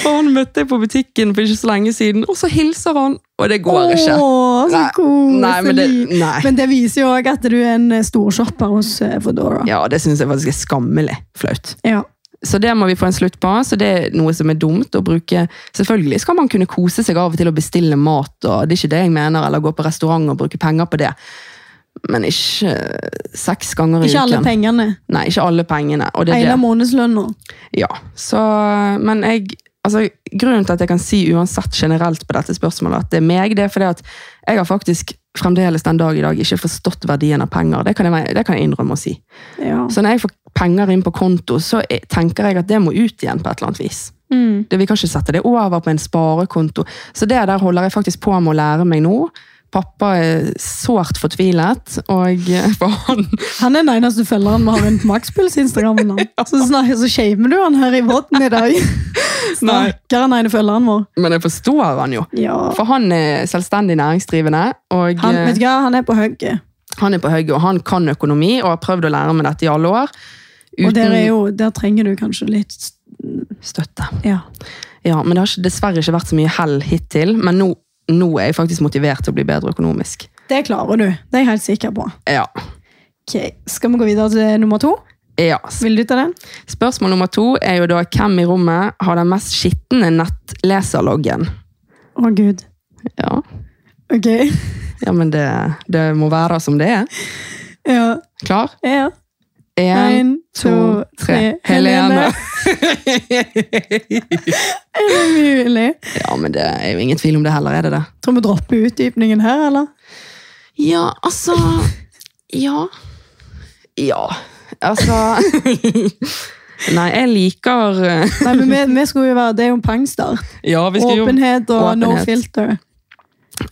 [SPEAKER 2] og han møtte jeg på butikken for ikke så lenge siden, og så hilser han! Og det går ikke.
[SPEAKER 1] Åh, så
[SPEAKER 2] Nei,
[SPEAKER 1] koselig.
[SPEAKER 2] nei, men det- nei.
[SPEAKER 1] Men det viser jo òg at du er en eh, storshopper hos eh, Foodora.
[SPEAKER 2] Ja, det syns jeg faktisk er skammelig flaut.
[SPEAKER 1] Ja.
[SPEAKER 2] Så det må vi få en slutt på. Så det er noe som er dumt å bruke. Selvfølgelig skal man kunne kose seg av og til å bestille mat, og det er ikke det jeg mener, eller gå på restaurant og bruke penger på det. Men ikke eh, seks ganger i
[SPEAKER 1] Ikke alle
[SPEAKER 2] uken.
[SPEAKER 1] pengene.
[SPEAKER 2] Nei, ikke alle pengene. Og det
[SPEAKER 1] Hele
[SPEAKER 2] er det.
[SPEAKER 1] månedslønna.
[SPEAKER 2] Ja. Så, men jeg, altså, grunnen til at jeg kan si uansett generelt på dette spørsmålet at det er meg, det er fordi at jeg har faktisk fremdeles den dag i dag ikke forstått verdien av penger. Det kan jeg, det kan jeg innrømme å si.
[SPEAKER 1] Ja.
[SPEAKER 2] Så når jeg får penger inn på konto, så er- tenker jeg at det må ut igjen på et eller annet vis.
[SPEAKER 1] Mm.
[SPEAKER 2] Det, vi kan ikke sette det over på en sparekonto. Så det der holder jeg faktisk på med å lære meg nå. Pappa er sårt fortvilet, og eh, for han
[SPEAKER 1] Han er den eneste følgeren vi har inne på Maxpuls Instagram.
[SPEAKER 2] [laughs]
[SPEAKER 1] nå. Så snakker så shamer du han her i vodden i dag.
[SPEAKER 2] Nei.
[SPEAKER 1] Snakker han ene følgeren vår.
[SPEAKER 2] Men jeg forstår han jo.
[SPEAKER 1] Ja.
[SPEAKER 2] For han er selvstendig næringsdrivende, og
[SPEAKER 1] Han,
[SPEAKER 2] eh,
[SPEAKER 1] vet du hva, han er på hugget.
[SPEAKER 2] han er på høyre, og han kan økonomi, og har prøvd å lære meg dette i alle år.
[SPEAKER 1] Og
[SPEAKER 2] Uten
[SPEAKER 1] der, er jo, der trenger du kanskje litt
[SPEAKER 2] støtte.
[SPEAKER 1] Ja.
[SPEAKER 2] Ja, men det har ikke, dessverre ikke vært så mye hell hittil, men nå, nå er jeg faktisk motivert til å bli bedre økonomisk.
[SPEAKER 1] Det klarer du. Det er jeg helt sikker på.
[SPEAKER 2] Ja.
[SPEAKER 1] Ok, Skal vi gå videre til nummer to?
[SPEAKER 2] Ja,
[SPEAKER 1] Vil du ta den?
[SPEAKER 2] Spørsmål nummer to er jo da hvem i rommet har den mest skitne nettleserloggen?
[SPEAKER 1] Å, gud.
[SPEAKER 2] Ja,
[SPEAKER 1] Ok. [laughs]
[SPEAKER 2] ja men det, det må være som det er.
[SPEAKER 1] Ja.
[SPEAKER 2] Klar?
[SPEAKER 1] ja.
[SPEAKER 2] En,
[SPEAKER 1] En,
[SPEAKER 2] to, tre. Helene!
[SPEAKER 1] Er [laughs] det mulig?
[SPEAKER 2] [laughs] Ja, men det er jo ingen tvil om det heller, er det det?
[SPEAKER 1] Tror vi dropper utdypningen her, eller?
[SPEAKER 2] Ja, altså Ja. Ja, altså [laughs] Nei, jeg liker eh,
[SPEAKER 1] Nei, men vi, vi skulle jo være, Det er jo en pangstart.
[SPEAKER 2] Ja, vi skal jo
[SPEAKER 1] Åpenhet og no
[SPEAKER 2] Åpenhet.
[SPEAKER 1] filter.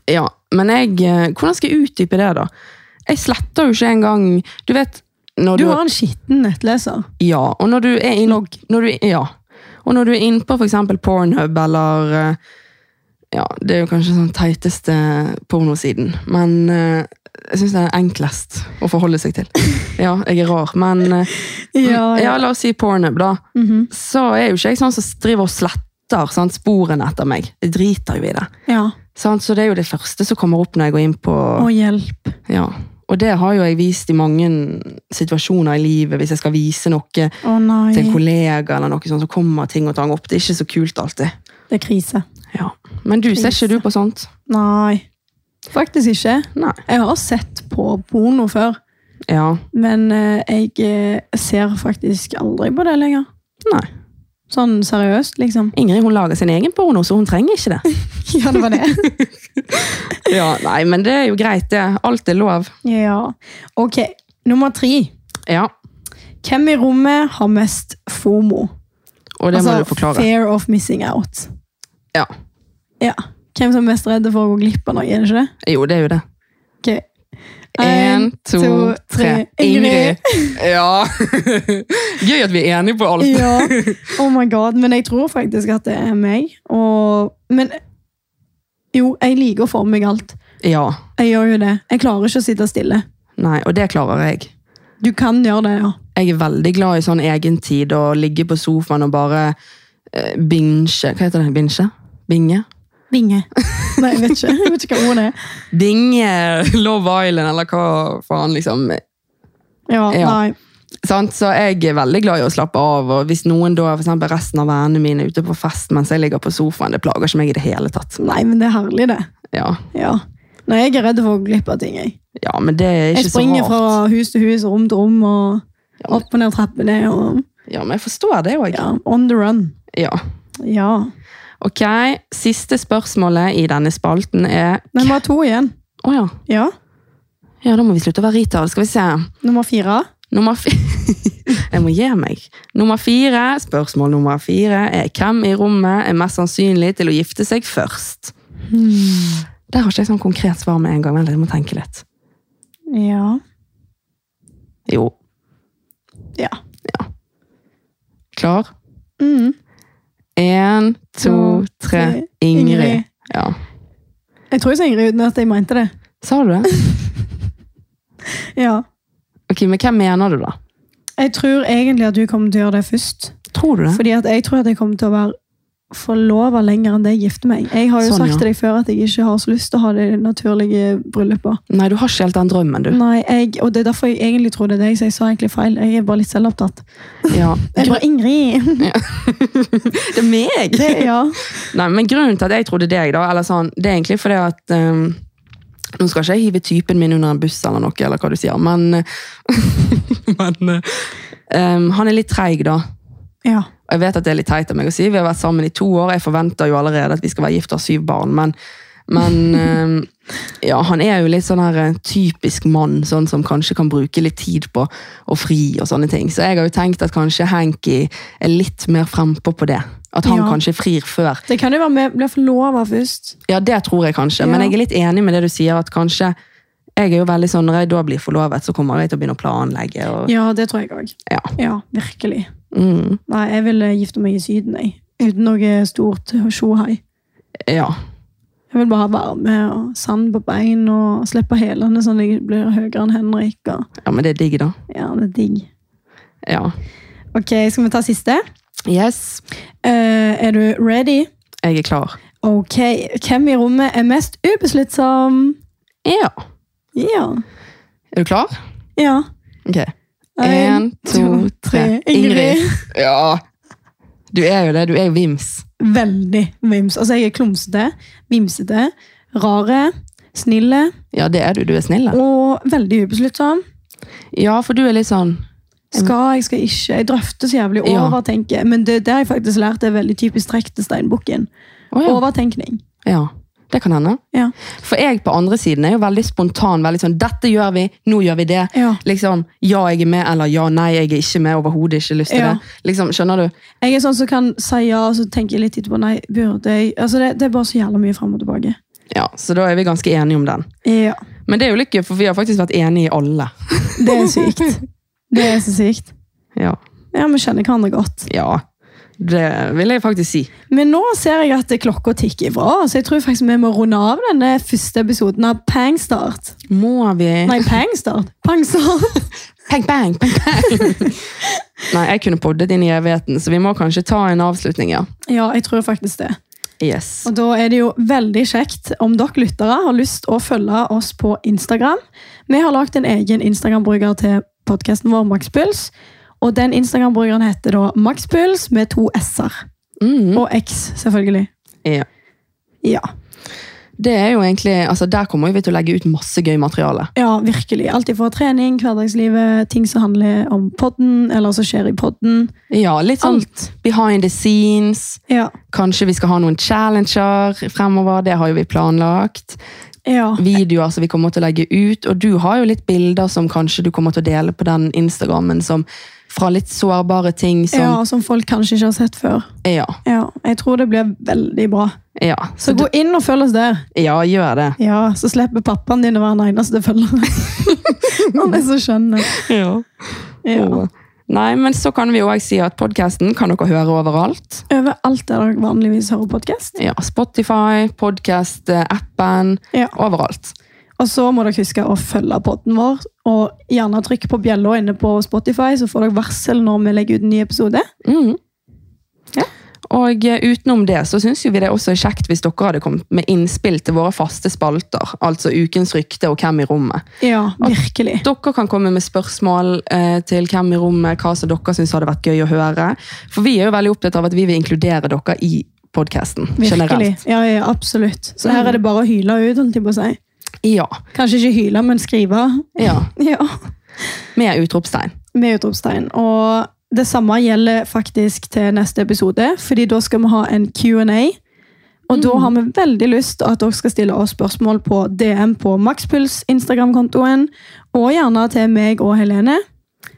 [SPEAKER 2] Ja, men jeg eh, Hvordan skal jeg utdype det, da? Jeg sletter jo ikke engang Du vet når
[SPEAKER 1] Du har en skitten nettleser.
[SPEAKER 2] Ja, og når du er inn, når du, ja. Og når du er inne på for eksempel Pornhub, eller eh, Ja, det er jo kanskje sånn teiteste pornosiden, men eh, jeg syns det er enklest å forholde seg
[SPEAKER 1] [laughs]
[SPEAKER 2] til. Ja, jeg er rar, men eh,
[SPEAKER 1] Ja,
[SPEAKER 2] ja,
[SPEAKER 1] ja.
[SPEAKER 2] la oss si Pornhub, da.
[SPEAKER 1] Mhm.
[SPEAKER 2] Så er jo ikke jeg sånn som driver og sletter sant, sporene etter meg. Jeg driter jo i det.
[SPEAKER 1] ja.
[SPEAKER 2] Sant? Så det er jo det første som kommer opp når jeg går inn på
[SPEAKER 1] Og hjelp.
[SPEAKER 2] ja. Og det har jo jeg vist i mange situasjoner i livet, hvis jeg skal vise noe
[SPEAKER 1] Å nei.
[SPEAKER 2] til en kollega eller noe sånt, så kommer ting og tang opp. Det er ikke så kult alltid.
[SPEAKER 1] Det er krise.
[SPEAKER 2] Ja. Men du, ser
[SPEAKER 1] Krise.
[SPEAKER 2] ikke du på sånt?
[SPEAKER 1] Nei. Faktisk ikke.
[SPEAKER 2] Nei.
[SPEAKER 1] Jeg har sett på porno før,
[SPEAKER 2] Ja.
[SPEAKER 1] men eh, jeg eh, ser faktisk aldri på det lenger.
[SPEAKER 2] Nei.
[SPEAKER 1] Sånn seriøst,
[SPEAKER 2] [laughs]
[SPEAKER 1] liksom.
[SPEAKER 2] Ingrid hun lager sin egen porno, så hun trenger ikke det.
[SPEAKER 1] Ja, det var det.
[SPEAKER 2] [laughs] Ja, Nei, men det er jo greit, det. Alt er lov.
[SPEAKER 1] ja. Ok, nummer tre.
[SPEAKER 2] Ja.
[SPEAKER 1] Hvem i rommet har mest FOMO?
[SPEAKER 2] Og det
[SPEAKER 1] altså,
[SPEAKER 2] må du forklare.
[SPEAKER 1] Fear of missing out.
[SPEAKER 2] Ja.
[SPEAKER 1] Ja. Hvem som er mest redd for å gå glipp av noe, er det ikke det?
[SPEAKER 2] Jo, det er jo det.
[SPEAKER 1] Ok.
[SPEAKER 2] Én, to, tre. Ingrid! [laughs] Ja. Gøy at vi er enige på alt.
[SPEAKER 1] Ja. Oh my god. Men jeg tror faktisk at det er meg. Og, men jo, jeg liker å få med meg alt.
[SPEAKER 2] Ja.
[SPEAKER 1] Jeg gjør jo det. Jeg klarer ikke å sitte stille.
[SPEAKER 2] Nei, og det klarer jeg.
[SPEAKER 1] Du kan gjøre det, ja.
[SPEAKER 2] Jeg er veldig glad i sånn egentid og ligge på sofaen og bare eh, binge Hva heter det? Binge? Binge?
[SPEAKER 1] Vinge. Nei, jeg vet ikke, jeg vet ikke hva ordet er.
[SPEAKER 2] Binge [laughs] Love Island, eller hva faen, liksom.
[SPEAKER 1] Ja,
[SPEAKER 2] Ja.
[SPEAKER 1] nei.
[SPEAKER 2] Sant? Så jeg er veldig glad i å slappe av. Og hvis noen da, for eksempel resten av vennene mine er ute på fest mens jeg ligger på sofaen, det plager ikke meg i det hele tatt.
[SPEAKER 1] nei, men det er herlig, det.
[SPEAKER 2] Ja,
[SPEAKER 1] Ja. Nei, jeg er redd for å gå glipp av ting. Jeg,
[SPEAKER 2] ja men det er
[SPEAKER 1] jeg
[SPEAKER 2] ikke så
[SPEAKER 1] springer
[SPEAKER 2] rart.
[SPEAKER 1] fra hus til hus, rom til rom, og opp og ned trappene. Og,
[SPEAKER 2] Ja, men jeg forstår det òg.
[SPEAKER 1] ja, on the run.
[SPEAKER 2] Ja.
[SPEAKER 1] Ja.
[SPEAKER 2] Ok, siste spørsmålet i denne spalten er
[SPEAKER 1] Men vi har to igjen.
[SPEAKER 2] Å ja.
[SPEAKER 1] Ja.
[SPEAKER 2] ja, da må vi slutte å være retail. Skal vi se.
[SPEAKER 1] Nummer fire.
[SPEAKER 2] Nummer fi... [laughs] Jeg må gi meg. Nummer fire, spørsmål nummer fire er hvem i rommet er mest sannsynlig til å gifte seg først? Der har ikke jeg sånn konkret svar med en gang. Vent litt, jeg må tenke litt.
[SPEAKER 1] Ja.
[SPEAKER 2] Jo.
[SPEAKER 1] Ja.
[SPEAKER 2] Klar?
[SPEAKER 1] Mm.
[SPEAKER 2] Én, to,
[SPEAKER 1] To,
[SPEAKER 2] tre.
[SPEAKER 1] tre.
[SPEAKER 2] Ingrid. Ja.
[SPEAKER 1] Jeg tror jeg sa Ingrid uten at jeg mente det.
[SPEAKER 2] Sa du det?
[SPEAKER 1] Ja.
[SPEAKER 2] Ok, Men hvem mener du, da?
[SPEAKER 1] Jeg tror egentlig at du kommer til å gjøre det først.
[SPEAKER 2] Tror du det?
[SPEAKER 1] Fordi at jeg tror at jeg kommer til å være forlova lenger enn det jeg gifter meg. Jeg har jo
[SPEAKER 2] Sånn, ja.
[SPEAKER 1] sagt til deg før at jeg ikke har så lyst til å ha det naturlige bryllupet.
[SPEAKER 2] Nei, du har ikke helt den drømmen, du.
[SPEAKER 1] Nei, jeg, og det er derfor jeg egentlig tror det er deg, så jeg sa egentlig feil. Jeg er bare litt selvopptatt.
[SPEAKER 2] Ja.
[SPEAKER 1] Jeg bare, Ingrid!
[SPEAKER 2] [laughs] Det er meg!
[SPEAKER 1] Det, ja.
[SPEAKER 2] Nei, men grunnen til at jeg trodde deg, da, eller sånn, det er egentlig fordi at ehm, Nå skal ikke jeg hive typen min under en buss eller noe, eller hva du sier, men [laughs] Men eh, ehm, han er litt treig, da.
[SPEAKER 1] ja.
[SPEAKER 2] Og jeg vet at det er litt teit av meg å si, vi har vært sammen i to år, jeg forventer jo allerede at vi skal være gift og ha syv barn, men
[SPEAKER 1] [laughs]
[SPEAKER 2] men ehm, ja, han er jo litt sånn her eh, typisk mann, sånn som kanskje kan bruke litt tid på å fri og sånne ting. Så jeg har jo tenkt at kanskje Hanky er litt mer frempå på det. At han
[SPEAKER 1] Ja.
[SPEAKER 2] kanskje frir før.
[SPEAKER 1] Det kan jo være med blir forlova først.
[SPEAKER 2] Ja, det tror jeg kanskje, men
[SPEAKER 1] Ja.
[SPEAKER 2] jeg er litt enig med det du sier, at kanskje jeg er jo veldig sånn, Når jeg da blir forlovet, så kommer jeg til å begynne å planlegge. Og,
[SPEAKER 1] Ja, det tror jeg òg.
[SPEAKER 2] Ja.
[SPEAKER 1] ja, virkelig.
[SPEAKER 2] mm,
[SPEAKER 1] Nei, jeg ville gifte meg i Syden, jeg. Uten noe stort tjohei.
[SPEAKER 2] ja.
[SPEAKER 1] Jeg vil bare ha varme og sand på bein og slippe hælene sånn at jeg blir høyere enn Henrik. Og,
[SPEAKER 2] ja, men det er digg, da.
[SPEAKER 1] ja, det er digg.
[SPEAKER 2] Ja.
[SPEAKER 1] Ok, skal vi ta siste?
[SPEAKER 2] Yes,
[SPEAKER 1] Eh, er du ready?
[SPEAKER 2] jeg er klar.
[SPEAKER 1] Ok, hvem i rommet er mest ubesluttsom?
[SPEAKER 2] Ja.
[SPEAKER 1] Ja.
[SPEAKER 2] Er du klar?
[SPEAKER 1] Ja.
[SPEAKER 2] Ok.
[SPEAKER 1] En,
[SPEAKER 2] Én, to, tre. Ingrid. Ja. Du er jo det. Du er jo Vims.
[SPEAKER 1] Veldig vims. Altså, jeg er klumsete, vimsete, rare, snille
[SPEAKER 2] Ja, det er du. Du er snill. da.
[SPEAKER 1] og veldig ubesluttsom.
[SPEAKER 2] Ja, for du er litt sånn
[SPEAKER 1] Skal jeg, skal ikke. Jeg drøfter så jævlig
[SPEAKER 2] Ja.
[SPEAKER 1] overtenker. Men det, det har jeg faktisk lært er veldig typisk trekk til steinbukken.
[SPEAKER 2] Å ja.
[SPEAKER 1] Overtenkning.
[SPEAKER 2] ja. Det kan hende.
[SPEAKER 1] Ja.
[SPEAKER 2] For jeg på andre siden er jo veldig spontan. veldig sånn, Dette gjør vi, nå gjør vi det.
[SPEAKER 1] Ja.
[SPEAKER 2] Liksom, ja, jeg er med, eller ja, nei, jeg er ikke med. Overhodet ikke lyst til
[SPEAKER 1] Ja.
[SPEAKER 2] det. Liksom, Skjønner du?
[SPEAKER 1] Jeg er sånn som kan si ja, og så tenker jeg litt etterpå nei, burde jeg Altså, det, det er bare så jævla mye fram og tilbake.
[SPEAKER 2] Ja, Så da er vi ganske enige om den.
[SPEAKER 1] Ja.
[SPEAKER 2] Men det er jo litt gøy, for vi har faktisk vært enige i alle.
[SPEAKER 1] Det er sykt. Det er så sykt.
[SPEAKER 2] Ja.
[SPEAKER 1] Ja, vi kjenner hverandre godt.
[SPEAKER 2] ja. Det vil jeg faktisk si.
[SPEAKER 1] Men nå ser jeg at klokka tikker ifra, så jeg tror faktisk vi må runde av denne første episoden av Pangstart.
[SPEAKER 2] Må vi
[SPEAKER 1] Nei, Pangstart. Pangstart. [laughs]
[SPEAKER 2] Pang, pang, pang, pang. [laughs] Nei, jeg kunne poddet inn i evigheten, så vi må kanskje ta en avslutning, ja.
[SPEAKER 1] Ja, jeg tror faktisk det.
[SPEAKER 2] Yes.
[SPEAKER 1] Og da er det jo veldig kjekt om dere lyttere har lyst å følge oss på Instagram. Vi har lagt en egen Instagram-bruker til podkasten vår, Maxpuls. Og den Instagram-brukeren heter da Maxpuls med to s-er.
[SPEAKER 2] Mm,
[SPEAKER 1] Og x, selvfølgelig.
[SPEAKER 2] ja.
[SPEAKER 1] Ja.
[SPEAKER 2] Det er jo egentlig, altså Der kommer vi til å legge ut masse gøy materiale.
[SPEAKER 1] ja, virkelig. Alt fra trening, hverdagslivet, ting som handler om podden, eller som skjer i podden.
[SPEAKER 2] Ja, Litt sånn
[SPEAKER 1] Alt.
[SPEAKER 2] behind the scenes.
[SPEAKER 1] Ja.
[SPEAKER 2] Kanskje vi skal ha noen challenger fremover. Det har jo vi planlagt.
[SPEAKER 1] ja.
[SPEAKER 2] Videoer som vi kommer til å legge ut. Og du har jo litt bilder som kanskje du kommer til å dele på den Instagrammen som fra litt sårbare ting
[SPEAKER 1] ja,
[SPEAKER 2] som
[SPEAKER 1] som folk kanskje ikke har sett før.
[SPEAKER 2] Ja.
[SPEAKER 1] Ja, Jeg tror det blir veldig bra.
[SPEAKER 2] ja.
[SPEAKER 1] Så
[SPEAKER 2] Så
[SPEAKER 1] gå inn og følg oss der.
[SPEAKER 2] du- ja, gjør det.
[SPEAKER 1] Ja, Så slipper pappaen din å være den eneste [laughs] følgeren. Han er så skjønn. Ja.
[SPEAKER 2] Og- Nei, men så kan vi jo også si at podkasten kan dere høre overalt.
[SPEAKER 1] Overalt der dere vanligvis hører podkast.
[SPEAKER 2] Ja, Spotify, podkast-appen,
[SPEAKER 1] Ja.
[SPEAKER 2] overalt.
[SPEAKER 1] Og så må dere huske å følge podden vår, og gjerne trykk på bjella inne på Spotify, så får dere varsel når vi legger ut en ny episode.
[SPEAKER 2] Mhm.
[SPEAKER 1] Ja.
[SPEAKER 2] Og eh, utenom det så syns vi det er også kjekt hvis dere hadde kommet med innspill til våre faste spalter, altså Ukens rykte og Hvem i rommet.
[SPEAKER 1] Ja, virkelig.
[SPEAKER 2] Dere kan komme med spørsmål eh, til hvem i rommet, hva som dere syns hadde vært gøy å høre. For vi er jo veldig opptatt av at vi vil inkludere dere i podkasten
[SPEAKER 1] Virkelig.
[SPEAKER 2] generelt.
[SPEAKER 1] Ja, ja, absolutt. Så her er det bare å hyle ut, holdt jeg på å si.
[SPEAKER 2] Ja,
[SPEAKER 1] Kanskje ikke hyle, men skrive.
[SPEAKER 2] ja.
[SPEAKER 1] [laughs] Ja.
[SPEAKER 2] Med utropstegn.
[SPEAKER 1] Med utropstegn. Og det samme gjelder faktisk til neste episode, fordi da skal vi ha en Q&A. Og da har vi veldig lyst til at dere skal stille oss spørsmål på DM på Makspuls Instagram-kontoen, og gjerne til meg og Helene.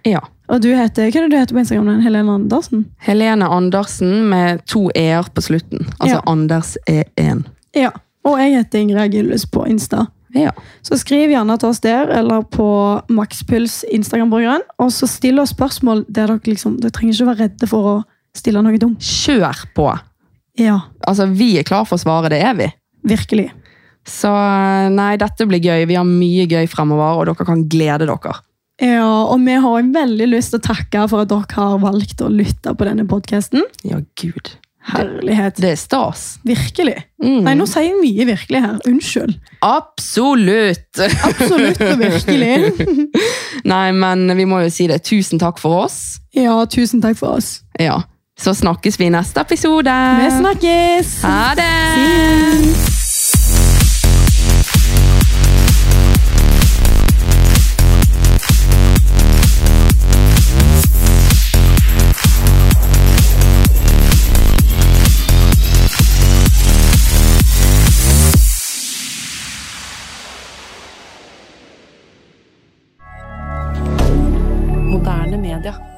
[SPEAKER 2] Ja.
[SPEAKER 1] Og du heter, hva er det du heter på Instagram? den? Helene Andersen?
[SPEAKER 2] Helene Andersen med to e-er på slutten. Altså
[SPEAKER 1] Ja.
[SPEAKER 2] Anders E1.
[SPEAKER 1] Ja. Og jeg heter Ingrid Agillus på Insta.
[SPEAKER 2] Ja.
[SPEAKER 1] Så skriv gjerne til oss der, eller på Makspuls Instagram-borgeren. Og så still oss spørsmål der dere liksom Dere trenger ikke være redde for å stille noe dumt.
[SPEAKER 2] Kjør på!
[SPEAKER 1] Ja,
[SPEAKER 2] Altså, vi er klar for å svare, det er vi.
[SPEAKER 1] virkelig.
[SPEAKER 2] Så eh, nei, dette blir gøy. Vi har mye gøy fremover, og dere kan glede dere.
[SPEAKER 1] Ja, og vi har også veldig lyst til å takke for at dere har valgt å lytte på denne podkasten.
[SPEAKER 2] Ja, gud.
[SPEAKER 1] Herlighet.
[SPEAKER 2] Det er stas.
[SPEAKER 1] Virkelig.
[SPEAKER 2] Mm.
[SPEAKER 1] Nei, nå sier jeg mye virkelig her. Unnskyld.
[SPEAKER 2] Absolutt! [laughs]
[SPEAKER 1] Absolutt og virkelig.
[SPEAKER 2] nei, men vi må jo si det. Tusen takk for oss.
[SPEAKER 1] Ja, tusen takk for oss.
[SPEAKER 2] Ja. Så snakkes vi i neste episode.
[SPEAKER 1] Vi snakkes!
[SPEAKER 2] Ha det!
[SPEAKER 1] See you.
[SPEAKER 3] Moderne media.